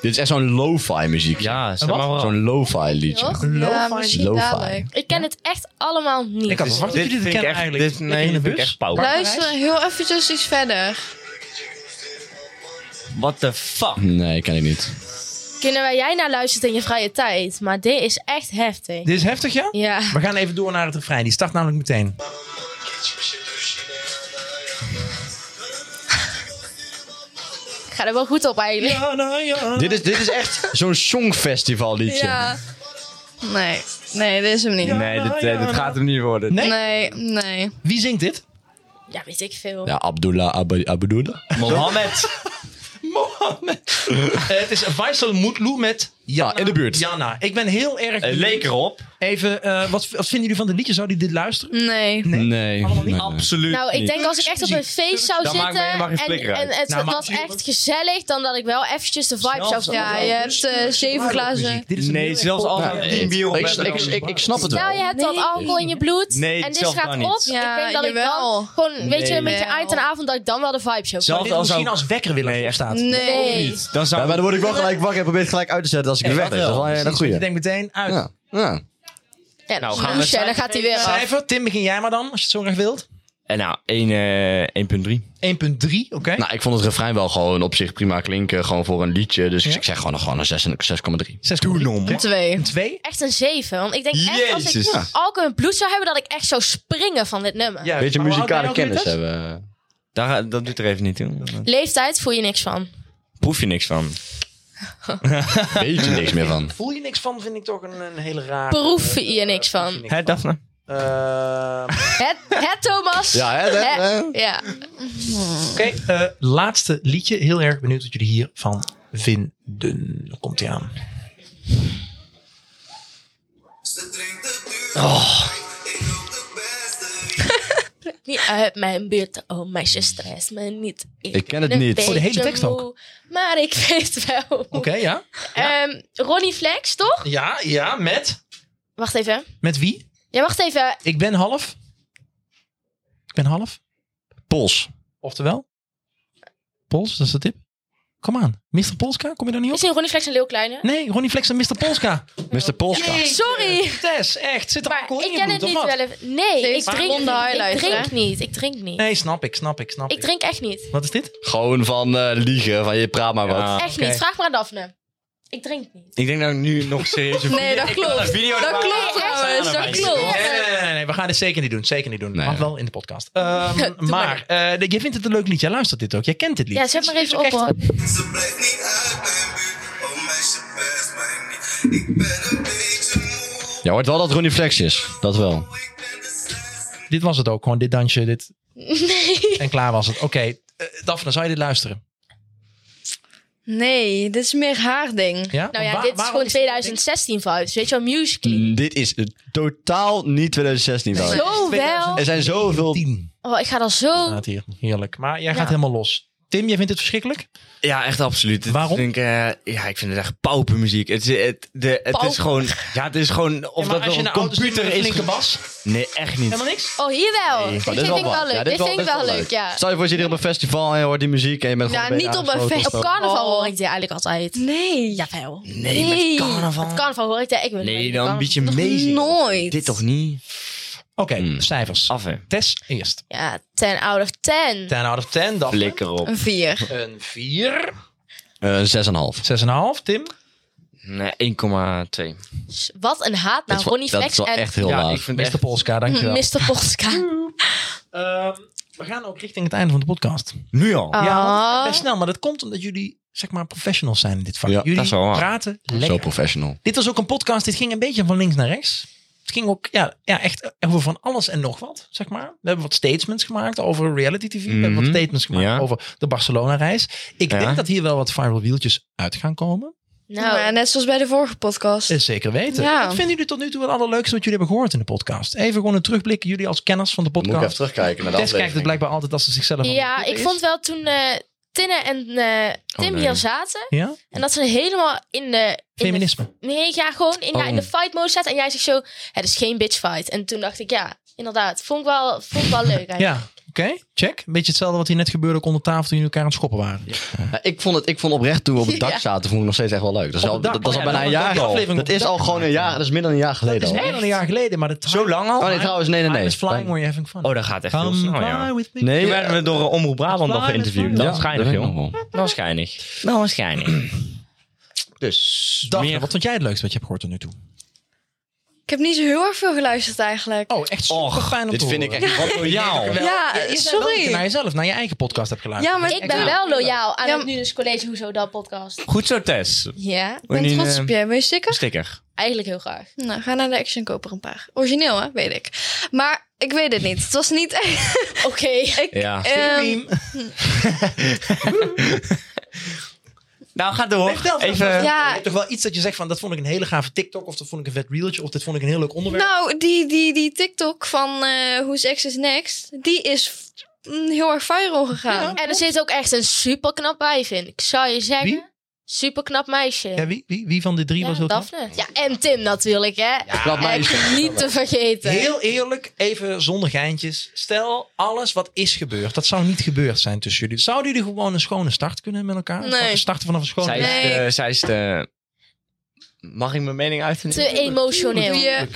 [SPEAKER 3] Dit is echt zo'n lo-fi muziek.
[SPEAKER 6] Ja, zeg
[SPEAKER 5] Wat?
[SPEAKER 6] maar wel.
[SPEAKER 3] Zo'n lo-fi liedje.
[SPEAKER 2] Toch?
[SPEAKER 4] Ja,
[SPEAKER 5] Lo-fi.
[SPEAKER 4] misschien
[SPEAKER 3] Lo-fi.
[SPEAKER 4] dadelijk.
[SPEAKER 2] Ik ken het echt allemaal niet.
[SPEAKER 5] Ik had verwacht dat
[SPEAKER 6] Dit
[SPEAKER 5] jullie dit
[SPEAKER 6] vind ik
[SPEAKER 5] kennen
[SPEAKER 6] echt-
[SPEAKER 5] eigenlijk.
[SPEAKER 6] dit-
[SPEAKER 5] Lekker
[SPEAKER 6] nee,
[SPEAKER 5] in de
[SPEAKER 6] dit vind ik
[SPEAKER 5] bus.
[SPEAKER 6] echt pauw.
[SPEAKER 4] Luister heel eventjes iets verder.
[SPEAKER 6] What the fuck?
[SPEAKER 3] Nee, ken ik niet.
[SPEAKER 2] Kunnen waar jij naar luistert in je vrije tijd. Maar dit is echt heftig.
[SPEAKER 5] Dit is heftig, ja?
[SPEAKER 2] Ja.
[SPEAKER 5] We gaan even door naar het refrein. Die start namelijk meteen.
[SPEAKER 2] Ik ga er wel goed op eigenlijk.
[SPEAKER 3] Dit is, dit is echt zo'n songfestival liedje.
[SPEAKER 4] Ja. Nee. Nee, dit is hem niet.
[SPEAKER 5] nou
[SPEAKER 6] Nee, dit, eh, dit gaat hem niet worden.
[SPEAKER 5] Nee?
[SPEAKER 4] Nee, nee.
[SPEAKER 5] Wie zingt dit?
[SPEAKER 2] Ja, weet ik veel.
[SPEAKER 3] Ja, Abdullah Ab Abdullah.
[SPEAKER 6] Mohammed.
[SPEAKER 5] Mohammed. Eh, het is Faisal Moedlou met Jana.
[SPEAKER 3] Ja, in de buurt. Eh,
[SPEAKER 5] Jana. Ik ben heel erg...
[SPEAKER 6] Het leek erop.
[SPEAKER 5] Even, eh, wat, wat vinden jullie van dit liedje? Zouden jullie dit luisteren?
[SPEAKER 4] Nee.
[SPEAKER 3] Nee. nee.
[SPEAKER 6] Absoluut
[SPEAKER 2] Nou, ik
[SPEAKER 6] niet.
[SPEAKER 2] denk als ik echt op een feest zou
[SPEAKER 6] Dan maak ik me
[SPEAKER 2] zitten
[SPEAKER 6] helemaal geen
[SPEAKER 2] en,
[SPEAKER 6] flikker uit.
[SPEAKER 2] en het
[SPEAKER 5] Nou, maar
[SPEAKER 2] was
[SPEAKER 5] als je-
[SPEAKER 2] echt gezellig, dan dat ik wel eventjes de vibe
[SPEAKER 6] Snel
[SPEAKER 2] zou
[SPEAKER 6] zo.
[SPEAKER 2] voelen.
[SPEAKER 4] Ja, je hebt eh, zeven glazen.
[SPEAKER 5] Dit is een heel
[SPEAKER 6] Nee,
[SPEAKER 5] erg
[SPEAKER 6] zelfs
[SPEAKER 5] pop-
[SPEAKER 6] al
[SPEAKER 5] Ja.
[SPEAKER 3] Nee.
[SPEAKER 6] bier
[SPEAKER 3] Ik, ik, ik, ik snap het wel.
[SPEAKER 5] Nou
[SPEAKER 2] Stel, Nou, je hebt dat
[SPEAKER 4] Nee.
[SPEAKER 2] alcohol in je bloed
[SPEAKER 6] Nee,
[SPEAKER 2] en dit
[SPEAKER 6] zelf
[SPEAKER 2] gaat
[SPEAKER 6] dan
[SPEAKER 2] op.
[SPEAKER 6] niet.
[SPEAKER 2] ik
[SPEAKER 4] Ja,
[SPEAKER 2] denk dat ik
[SPEAKER 4] jawel.
[SPEAKER 2] dan gewoon, weet je,
[SPEAKER 6] Nee.
[SPEAKER 2] een beetje eind en avond, dat ik dan wel de vibe zou
[SPEAKER 6] Zelf-
[SPEAKER 2] voelen.
[SPEAKER 5] Zou dit
[SPEAKER 6] Als
[SPEAKER 5] misschien
[SPEAKER 6] ook-
[SPEAKER 5] als wekker willen nee. staat.
[SPEAKER 4] Nee.
[SPEAKER 2] Nee.
[SPEAKER 6] Dan
[SPEAKER 3] Ja,
[SPEAKER 6] zou
[SPEAKER 3] maar dan word ik wel gelijk wakker en probeer het gelijk uit te zetten als ik weer weg ben. Dat is wel een hele
[SPEAKER 5] Je
[SPEAKER 3] goeie.
[SPEAKER 5] denkt meteen uit.
[SPEAKER 3] Ja. Ja.
[SPEAKER 2] Ja,
[SPEAKER 6] Nou,
[SPEAKER 2] nou,
[SPEAKER 6] gaan we
[SPEAKER 2] dan gaat hij weer af.
[SPEAKER 5] Cijfer. Tim, begin jij maar dan, als je het zo graag wilt. 1.3,
[SPEAKER 6] En nou, één, eh, 1.3.
[SPEAKER 5] oké.
[SPEAKER 3] Nou, ik vond het refrein wel gewoon op zich prima klinken. Gewoon voor een liedje. Dus
[SPEAKER 5] Ja?
[SPEAKER 3] ik zeg gewoon, gewoon een zes en- 6,3.
[SPEAKER 5] Zes Doe
[SPEAKER 4] Een Twee.
[SPEAKER 5] Twee?
[SPEAKER 2] Echt een 7. Want ik denk echt als ik
[SPEAKER 6] Jezus.
[SPEAKER 2] ja. alcohol in het bloed zou hebben, dat ik echt zou springen van dit nummer.
[SPEAKER 5] Ja,
[SPEAKER 3] Beetje
[SPEAKER 5] maar hoe oud ben je
[SPEAKER 3] muzikale
[SPEAKER 5] ook weer, dus?
[SPEAKER 3] kennis
[SPEAKER 5] Tess?
[SPEAKER 3] hebben.
[SPEAKER 6] Daar, dat doet er even niet toe. eh,
[SPEAKER 2] Leeftijd voel je niks van.
[SPEAKER 6] Proef je niks van.
[SPEAKER 3] Weet je niks meer van.
[SPEAKER 5] Voel je niks van, vind ik toch een, een hele raar.
[SPEAKER 2] Proef je niks
[SPEAKER 5] Proef je
[SPEAKER 2] van.
[SPEAKER 5] niks
[SPEAKER 6] Hè, Daphne?
[SPEAKER 5] Eh,
[SPEAKER 2] Het, het Thomas.
[SPEAKER 3] Ja, hè, hè,
[SPEAKER 2] Hè?
[SPEAKER 3] hè.
[SPEAKER 2] Ja.
[SPEAKER 5] Oké, eh, laatste liedje. Heel erg benieuwd wat jullie hiervan vinden. Komt ie aan.
[SPEAKER 2] Niet uit mijn buurt, oh meisje, stress me niet.
[SPEAKER 3] Ik ken het
[SPEAKER 2] ben een
[SPEAKER 3] niet.
[SPEAKER 5] Oh, de hele
[SPEAKER 2] beetje
[SPEAKER 5] tekst ook?
[SPEAKER 2] moe, Maar ik weet wel. hoe.
[SPEAKER 5] ja.
[SPEAKER 2] Ehm, Ronnie Flex, toch?
[SPEAKER 5] Ja, ja, met?
[SPEAKER 2] Wacht even.
[SPEAKER 5] Met wie?
[SPEAKER 2] Ja, wacht even.
[SPEAKER 5] Ik ben half. Ik ben half.
[SPEAKER 3] Pols.
[SPEAKER 5] Oftewel? Pols, dat is de tip. Kom aan. Mr. Polska, kom je daar niet op?
[SPEAKER 2] Is niet Ronnie Flex een leeuw kleine?
[SPEAKER 5] Nee, Ronnie Flex en Mr. Polska.
[SPEAKER 3] Mr. Polska.
[SPEAKER 2] Sorry.
[SPEAKER 5] Tess, echt. Zit er
[SPEAKER 2] Maar
[SPEAKER 5] alcohol in
[SPEAKER 2] ik
[SPEAKER 5] je
[SPEAKER 2] ken
[SPEAKER 5] bloed,
[SPEAKER 2] het
[SPEAKER 5] of
[SPEAKER 2] niet
[SPEAKER 5] wat?
[SPEAKER 2] wel even. Nee,
[SPEAKER 4] Zeven
[SPEAKER 2] ik drink,
[SPEAKER 4] ronde
[SPEAKER 2] ik
[SPEAKER 4] highlights,
[SPEAKER 2] drink
[SPEAKER 4] hè?
[SPEAKER 2] niet. Ik drink niet.
[SPEAKER 5] Nee, snap ik, snap ik, snap ik.
[SPEAKER 2] Ik drink echt niet.
[SPEAKER 5] Wat is dit?
[SPEAKER 3] Gewoon van eh, liegen, van je praat maar wat.
[SPEAKER 6] Ja.
[SPEAKER 2] Echt
[SPEAKER 5] oké.
[SPEAKER 2] niet. Vraag maar aan Daphne. Ik drink niet.
[SPEAKER 6] Ik denk dat ik nu nog serieus... een
[SPEAKER 4] Nee, dat
[SPEAKER 6] video- Ik wil
[SPEAKER 4] klopt.
[SPEAKER 6] een video
[SPEAKER 4] Dat
[SPEAKER 6] maken.
[SPEAKER 4] klopt trouwens, dat klopt.
[SPEAKER 5] Nee, nee, nee, nee, nee, we gaan dit zeker niet doen. Zeker niet doen.
[SPEAKER 3] Nee.
[SPEAKER 5] Mag wel in de podcast. Ehm,
[SPEAKER 4] Doe
[SPEAKER 5] maar,
[SPEAKER 4] maar.
[SPEAKER 5] eh, jij vindt het een leuk lied. Jij luistert dit ook. Jij kent dit lied.
[SPEAKER 2] Ja, zet maar
[SPEAKER 5] Het is
[SPEAKER 2] even
[SPEAKER 5] ook
[SPEAKER 2] op
[SPEAKER 5] echt-
[SPEAKER 2] hoor.
[SPEAKER 7] Ze blijft niet uit mijn buurt, oh meisje, best mij niet. Ik ben een beetje moe,
[SPEAKER 3] Je hoort wel dat Ronnie Flex is. Dat wel.
[SPEAKER 7] ik ben de zesde.
[SPEAKER 5] Dit was het ook. Gewoon dit dansje. Dit...
[SPEAKER 2] Nee.
[SPEAKER 5] En klaar was het. Oké. eh, Daphne, zou je dit luisteren?
[SPEAKER 4] Nee, dit is meer haar ding.
[SPEAKER 5] Ja?
[SPEAKER 2] Nou ja,
[SPEAKER 5] Waar-
[SPEAKER 2] dit is
[SPEAKER 5] waarom
[SPEAKER 2] gewoon
[SPEAKER 5] dit-
[SPEAKER 2] 2016 vibes. Weet je wel, musical.
[SPEAKER 3] Mm, dit is eh, totaal niet 2016 wel.
[SPEAKER 2] Zo wel.
[SPEAKER 3] Er zijn zoveel...
[SPEAKER 5] Tien
[SPEAKER 2] Oh, ik ga dan zo.
[SPEAKER 5] staat hier. Heerlijk. Maar jij
[SPEAKER 2] Ja.
[SPEAKER 5] gaat helemaal los. Tim, jij vindt het verschrikkelijk?
[SPEAKER 6] Ja, echt absoluut. Het
[SPEAKER 5] Waarom?
[SPEAKER 6] is, denk, ik, eh, ja, ik vind het echt paupermuziek. Het, is- het, de, het is
[SPEAKER 2] Pauper.
[SPEAKER 6] gewoon... Ja, het is gewoon... Of dat wel een computer is...
[SPEAKER 5] flinke bas.
[SPEAKER 6] Nee, echt niet.
[SPEAKER 5] niks.
[SPEAKER 2] Oh, hier wel. Dit
[SPEAKER 3] Oh,
[SPEAKER 2] vind ik wel leuk.
[SPEAKER 3] Ja,
[SPEAKER 2] Dit vind ik wel
[SPEAKER 3] dit
[SPEAKER 2] leuk, ja. Nou,
[SPEAKER 3] Stel je voor, je zit hier op een festival en je hoort die muziek en je bent
[SPEAKER 4] Ja,
[SPEAKER 3] gewoon een beetje
[SPEAKER 4] niet op een
[SPEAKER 3] aangesloten
[SPEAKER 4] fest-
[SPEAKER 2] Op
[SPEAKER 3] of zo.
[SPEAKER 2] carnaval
[SPEAKER 4] Oh.
[SPEAKER 2] hoor ik dit eigenlijk altijd.
[SPEAKER 4] Nee.
[SPEAKER 2] Jawel.
[SPEAKER 6] Nee,
[SPEAKER 4] Nee.
[SPEAKER 6] met carnaval.
[SPEAKER 2] Op carnaval hoor ik dit. Ik wil
[SPEAKER 6] Nee,
[SPEAKER 2] niet
[SPEAKER 6] dan
[SPEAKER 2] carnaval.
[SPEAKER 6] een beetje amazing.
[SPEAKER 4] nooit.
[SPEAKER 6] Dit toch niet?
[SPEAKER 5] Oké,
[SPEAKER 6] Hmm.
[SPEAKER 3] Mm.
[SPEAKER 5] cijfers.
[SPEAKER 6] Af, hè.
[SPEAKER 5] Tess eerst.
[SPEAKER 2] Ja, ten out of ten.
[SPEAKER 5] 10 out of 10. Daphne.
[SPEAKER 6] Flikker op.
[SPEAKER 4] Een vier.
[SPEAKER 5] Een 4.
[SPEAKER 3] Eh, Zes en een half.
[SPEAKER 5] 6,5. Tim.
[SPEAKER 6] Nee, 1,2.
[SPEAKER 2] S- Wat een haat naar
[SPEAKER 3] Dat is wel-
[SPEAKER 2] Ronnie
[SPEAKER 3] dat
[SPEAKER 2] Flex
[SPEAKER 3] is wel
[SPEAKER 2] en
[SPEAKER 3] echt heel
[SPEAKER 6] Ja,
[SPEAKER 3] laag.
[SPEAKER 6] ik vind
[SPEAKER 5] Mr.
[SPEAKER 6] echt...
[SPEAKER 5] Polska, dankjewel.
[SPEAKER 2] Mr. Polska.
[SPEAKER 5] Ehm, we gaan ook richting het einde van de podcast.
[SPEAKER 6] Nu al.
[SPEAKER 2] Ah.
[SPEAKER 5] Ja, want het gaat best snel, maar dat komt omdat jullie zeg maar professionals zijn in dit vak.
[SPEAKER 3] Ja,
[SPEAKER 5] jullie
[SPEAKER 6] dat is wel waar.
[SPEAKER 5] praten
[SPEAKER 3] Zo
[SPEAKER 5] lekker.
[SPEAKER 3] professional.
[SPEAKER 5] Dit was ook een podcast, dit ging een beetje van links naar rechts. Het ging ook ja, ja, echt over van alles en nog wat, zeg maar. We hebben wat statements gemaakt over reality tv. We hebben wat
[SPEAKER 6] Mhm.
[SPEAKER 5] statements gemaakt
[SPEAKER 6] Ja.
[SPEAKER 5] over de Barcelona-reis. Ik
[SPEAKER 6] Ja.
[SPEAKER 5] denk dat hier wel wat viral wieltjes uit gaan komen.
[SPEAKER 4] Maar
[SPEAKER 2] Nou,
[SPEAKER 4] net zoals bij de vorige podcast.
[SPEAKER 5] Eh, Zeker weten.
[SPEAKER 4] Ja.
[SPEAKER 5] Wat vinden jullie tot nu toe het allerleukste wat jullie hebben gehoord in de podcast? Even gewoon een terugblik, jullie als kenners van de
[SPEAKER 3] Moet ik even
[SPEAKER 5] podcast.
[SPEAKER 3] terugkijken naar de
[SPEAKER 5] Tess kijkt het
[SPEAKER 3] aflevering.
[SPEAKER 5] blijkbaar altijd als ze zichzelf aan
[SPEAKER 2] ja,
[SPEAKER 5] het
[SPEAKER 2] ik
[SPEAKER 5] is.
[SPEAKER 2] vond wel toen eh, Tinne en
[SPEAKER 5] Oh,
[SPEAKER 2] eh, Tim
[SPEAKER 6] nee.
[SPEAKER 2] hier zaten.
[SPEAKER 5] Ja?
[SPEAKER 2] En dat ze helemaal in de... In de
[SPEAKER 5] Feminisme.
[SPEAKER 2] nee, ja, gewoon in, ja, in de
[SPEAKER 3] Oh.
[SPEAKER 2] fight mode zaten. En jij zegt zo, het is geen bitch fight. En toen dacht ik, ja, inderdaad. Vond ik wel, vond ik wel leuk eigenlijk.
[SPEAKER 5] Ja, oké. Check. Beetje hetzelfde wat hier net gebeurde ook onder tafel toen jullie elkaar aan het schoppen waren.
[SPEAKER 3] Ja, Nou, ik, vond het, ik vond oprecht toen we op het dak
[SPEAKER 2] Ja.
[SPEAKER 3] zaten, vond ik nog steeds echt wel leuk. Dat is,
[SPEAKER 5] Op
[SPEAKER 3] al,
[SPEAKER 5] het dak?
[SPEAKER 3] dat, dat is
[SPEAKER 5] Oh
[SPEAKER 3] al
[SPEAKER 5] ja,
[SPEAKER 3] bijna een
[SPEAKER 5] dat-
[SPEAKER 3] jaar
[SPEAKER 5] dat-
[SPEAKER 3] al.
[SPEAKER 5] aflevering op
[SPEAKER 3] Dat
[SPEAKER 5] het
[SPEAKER 3] is al
[SPEAKER 5] dak
[SPEAKER 3] gewoon een jaar, dat is meer dan een jaar
[SPEAKER 5] Dat
[SPEAKER 3] geleden
[SPEAKER 5] is
[SPEAKER 3] al.
[SPEAKER 5] meer dan een jaar geleden, maar dat
[SPEAKER 6] Zo lang al?
[SPEAKER 3] Oh nee, trouwens, nee, nee,
[SPEAKER 5] I
[SPEAKER 3] nee.
[SPEAKER 5] was flying where you having fun.
[SPEAKER 6] Oh, dat gaat echt heel
[SPEAKER 5] Come
[SPEAKER 6] snel,
[SPEAKER 5] fly
[SPEAKER 6] ja.
[SPEAKER 5] with me.
[SPEAKER 3] Nee,
[SPEAKER 6] Nu werden we door Omroep Brabant nog
[SPEAKER 5] Fly,
[SPEAKER 6] geïnterviewd.
[SPEAKER 5] fly.
[SPEAKER 6] Dat is geinig,
[SPEAKER 3] joh.
[SPEAKER 6] joh. Dat was geinig. Dat was geinig. Dus,
[SPEAKER 5] Daphne,
[SPEAKER 6] meer...
[SPEAKER 5] wat vond jij het leukste wat je hebt gehoord tot nu toe?
[SPEAKER 4] Ik heb niet zo heel erg veel geluisterd eigenlijk.
[SPEAKER 5] Oh, echt
[SPEAKER 6] Och,
[SPEAKER 5] super fijn om
[SPEAKER 3] Dit
[SPEAKER 5] te
[SPEAKER 3] vind ik
[SPEAKER 5] horen.
[SPEAKER 3] echt wat royaal.
[SPEAKER 4] ja, eh,
[SPEAKER 5] Je zei wel dat je naar
[SPEAKER 4] sorry.
[SPEAKER 5] jezelf, naar je eigen podcast hebt geluisterd.
[SPEAKER 4] Ja, maar
[SPEAKER 2] Ik ben wel loyaal aan
[SPEAKER 4] Ja,
[SPEAKER 2] het nu dus college Hoezo Dat podcast.
[SPEAKER 6] Goed zo, Tess.
[SPEAKER 2] Ja,
[SPEAKER 4] Ik ben
[SPEAKER 6] Niet,
[SPEAKER 4] trots
[SPEAKER 6] eh,
[SPEAKER 4] op je. Ben je sticker?
[SPEAKER 6] Sticker.
[SPEAKER 2] eigenlijk heel graag.
[SPEAKER 4] Nou, ga naar de Action koper een paar. Origineel, hè? Weet ik. Maar ik weet het niet. Het was niet echt...
[SPEAKER 2] Oké.
[SPEAKER 4] Ik,
[SPEAKER 6] Ja.
[SPEAKER 4] ehm,
[SPEAKER 6] Nou, ga door. Even...
[SPEAKER 4] Ja.
[SPEAKER 5] Je hebt toch wel iets dat je zegt van, dat vond ik een hele gave TikTok, of dat vond ik een vet reeltje, of dit vond ik een heel leuk onderwerp.
[SPEAKER 4] nou, die, die, die TikTok van eh Who's X is Next, die is f- mm, heel erg viral gegaan.
[SPEAKER 2] En er zit ook echt een super knap wijf in. Ik zou je
[SPEAKER 5] Wie?
[SPEAKER 2] zeggen, super knap meisje.
[SPEAKER 5] Ja, wie, wie, wie van de drie was heel knap?
[SPEAKER 2] Daphne. Ja, en Tim natuurlijk, hè.
[SPEAKER 3] Knap meisje.
[SPEAKER 2] Echt niet te vergeten.
[SPEAKER 5] Heel eerlijk, even zonder geintjes. Stel, alles wat is gebeurd, dat zou niet gebeurd zijn tussen jullie. Zouden jullie gewoon een schone start kunnen met elkaar?
[SPEAKER 4] Nee.
[SPEAKER 5] Starten vanaf een schone
[SPEAKER 6] Zij
[SPEAKER 4] Nee.
[SPEAKER 6] is, de, zij is de... Mag ik mijn mening uiten?
[SPEAKER 2] Te emotioneel.
[SPEAKER 4] Je-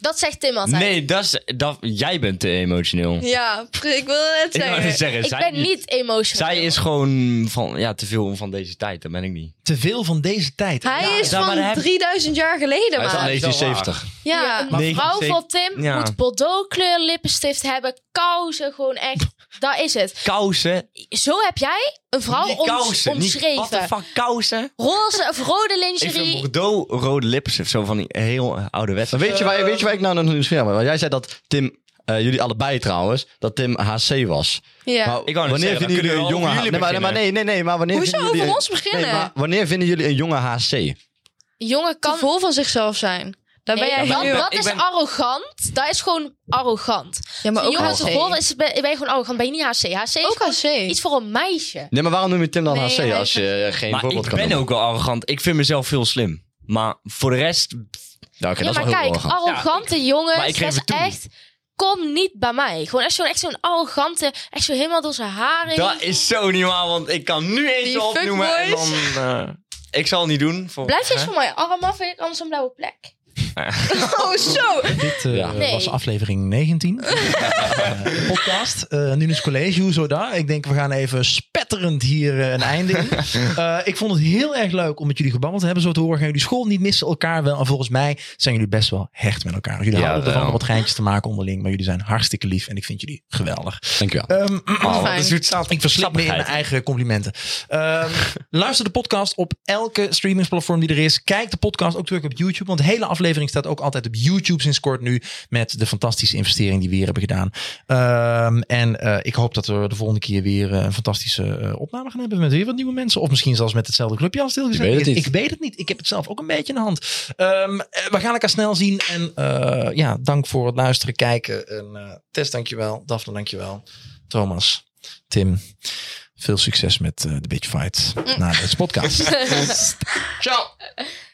[SPEAKER 2] Dat zegt Tim altijd.
[SPEAKER 6] Nee, dat is, dat, jij bent te emotioneel.
[SPEAKER 4] ja, pre- ik wilde net
[SPEAKER 6] Ik wou net
[SPEAKER 4] zeggen.
[SPEAKER 6] zeggen,
[SPEAKER 2] ik
[SPEAKER 6] zij
[SPEAKER 2] ben niet emotioneel.
[SPEAKER 6] Zij is gewoon van, ja, te veel van deze tijd. Dat ben ik niet.
[SPEAKER 5] Te veel van deze tijd.
[SPEAKER 4] Hij is
[SPEAKER 6] Ja, maar dan
[SPEAKER 4] van
[SPEAKER 6] heb-
[SPEAKER 4] 3000 jaar geleden,
[SPEAKER 3] Hij is al
[SPEAKER 4] maar.
[SPEAKER 6] is wel
[SPEAKER 3] 1970.
[SPEAKER 4] Ja,
[SPEAKER 2] Een vrouw
[SPEAKER 6] 1970.
[SPEAKER 2] van Tim
[SPEAKER 6] Ja.
[SPEAKER 2] moet bordeaux kleur lippenstift hebben, kousen, gewoon echt. Dat is het.
[SPEAKER 6] Kousen.
[SPEAKER 2] Zo heb jij een vrouw
[SPEAKER 6] Niet
[SPEAKER 2] oms-
[SPEAKER 6] kousen. Niet, what the
[SPEAKER 2] omschreven.
[SPEAKER 6] fuck, kousen?
[SPEAKER 2] Roze of rode
[SPEAKER 6] Ik vind
[SPEAKER 2] lingerie.
[SPEAKER 6] Bordeaux rode lippen zo van die heel eh, ouderwets.
[SPEAKER 3] Maar weet je, waar, weet je waar ik nou nog nieuws ben? Want jij zei dat Tim, eh, jullie allebei trouwens, dat Tim HC was.
[SPEAKER 4] ja.
[SPEAKER 3] Maar
[SPEAKER 6] Ik wou net
[SPEAKER 3] wanneer
[SPEAKER 6] zeggen, dan
[SPEAKER 3] vinden jullie
[SPEAKER 6] kunnen
[SPEAKER 3] een
[SPEAKER 6] we
[SPEAKER 3] jonge
[SPEAKER 6] over
[SPEAKER 3] H-
[SPEAKER 6] jullie
[SPEAKER 3] nee, maar, maar
[SPEAKER 6] beginnen.
[SPEAKER 3] nee, nee, nee, maar wanneer
[SPEAKER 4] Hoezo
[SPEAKER 3] vinden jullie
[SPEAKER 4] over
[SPEAKER 3] een-
[SPEAKER 4] ons beginnen?
[SPEAKER 3] Nee, maar wanneer vinden jullie een jonge HC?
[SPEAKER 2] Jongen
[SPEAKER 4] kan
[SPEAKER 2] kan
[SPEAKER 4] vol van zichzelf zijn. Daar
[SPEAKER 2] Nee,
[SPEAKER 4] ben jij
[SPEAKER 2] dat,
[SPEAKER 4] heel...
[SPEAKER 2] dat
[SPEAKER 6] ik
[SPEAKER 2] is
[SPEAKER 6] ben-
[SPEAKER 2] arrogant. Dat is gewoon arrogant.
[SPEAKER 4] Ja, maar ook
[SPEAKER 2] Jongens,
[SPEAKER 4] HC.
[SPEAKER 2] gewoon is, ben, ben je gewoon arrogant. Ben je niet HC? HC is
[SPEAKER 4] Ook
[SPEAKER 2] gewoon
[SPEAKER 4] HC.
[SPEAKER 2] iets voor een meisje.
[SPEAKER 3] Nee, maar waarom noem je Tim dan
[SPEAKER 4] Nee,
[SPEAKER 3] HC
[SPEAKER 4] hij
[SPEAKER 3] als je eh, geen
[SPEAKER 6] Maar
[SPEAKER 3] voorbeeld
[SPEAKER 6] ik
[SPEAKER 3] kan
[SPEAKER 6] ben
[SPEAKER 3] noemen?
[SPEAKER 6] ook wel arrogant. Ik vind mezelf veel slim. Maar voor de rest...
[SPEAKER 3] Nou, oké,
[SPEAKER 2] ja,
[SPEAKER 3] dat is
[SPEAKER 2] maar
[SPEAKER 3] wel heel
[SPEAKER 2] kijk,
[SPEAKER 3] arrogant.
[SPEAKER 2] arrogante
[SPEAKER 6] maar ik
[SPEAKER 2] jongens,
[SPEAKER 6] geef
[SPEAKER 2] dat is dus
[SPEAKER 6] het toe.
[SPEAKER 2] echt kom niet bij mij. Gewoon echt zo'n echt zo'n arrogante, echt zo helemaal door zijn haren.
[SPEAKER 6] Dat is zo niet waar, want ik kan nu eentje
[SPEAKER 4] Die
[SPEAKER 6] opnoemen en dan...
[SPEAKER 4] fuckboys.
[SPEAKER 6] eh, ik zal het niet doen. Voor,
[SPEAKER 2] Blijf eens
[SPEAKER 6] hè?
[SPEAKER 2] van mij arm af, ik anders een blauwe plek.
[SPEAKER 4] Oh, zo.
[SPEAKER 5] Dit eh,
[SPEAKER 3] Ja.
[SPEAKER 2] Nee.
[SPEAKER 5] was aflevering 19. Eh, podcast. Eh, nu is het college, hoezo daar? Ik denk, we gaan even spetterend hier eh, een einde in. Eh, ik vond het heel erg leuk om met jullie gebabbeld te hebben. Zo te horen gaan jullie school niet missen elkaar wel. En volgens mij zijn jullie best wel hecht met elkaar. Jullie
[SPEAKER 6] Ja,
[SPEAKER 5] houden ervan
[SPEAKER 6] wel.
[SPEAKER 5] om wat geintjes te maken onderling. Maar jullie zijn hartstikke lief en ik vind jullie geweldig.
[SPEAKER 3] Dankjewel.
[SPEAKER 5] Ehm,
[SPEAKER 6] Oh, wat
[SPEAKER 4] Fijn.
[SPEAKER 6] een zoetsappig-
[SPEAKER 5] ik verslap me in mijn
[SPEAKER 6] sappigheid.
[SPEAKER 5] eigen complimenten. Ehm, luister de podcast op elke streamingsplatform die er is. Kijk de podcast ook terug op YouTube. Want de hele aflevering staat ook altijd op YouTube sinds kort nu. Met de fantastische investering die we hier hebben gedaan. Ehm, en eh, ik hoop dat we de volgende keer weer eh, een fantastische eh, opname gaan hebben. Met weer wat nieuwe mensen. Of misschien zelfs met hetzelfde clubje als het heel
[SPEAKER 3] Je
[SPEAKER 5] gezegd
[SPEAKER 3] weet het
[SPEAKER 5] is.
[SPEAKER 3] niet.
[SPEAKER 5] Ik weet het niet. Ik heb het zelf ook een beetje in de hand. Ehm, eh, we gaan elkaar snel zien. En eh, ja, dank voor het luisteren, kijken. En, eh Tess, dankjewel. Daphne, dankjewel. Thomas, Tim,
[SPEAKER 3] Mm.
[SPEAKER 5] veel succes met eh, de Bitch Fight na deze podcast.
[SPEAKER 6] Ciao.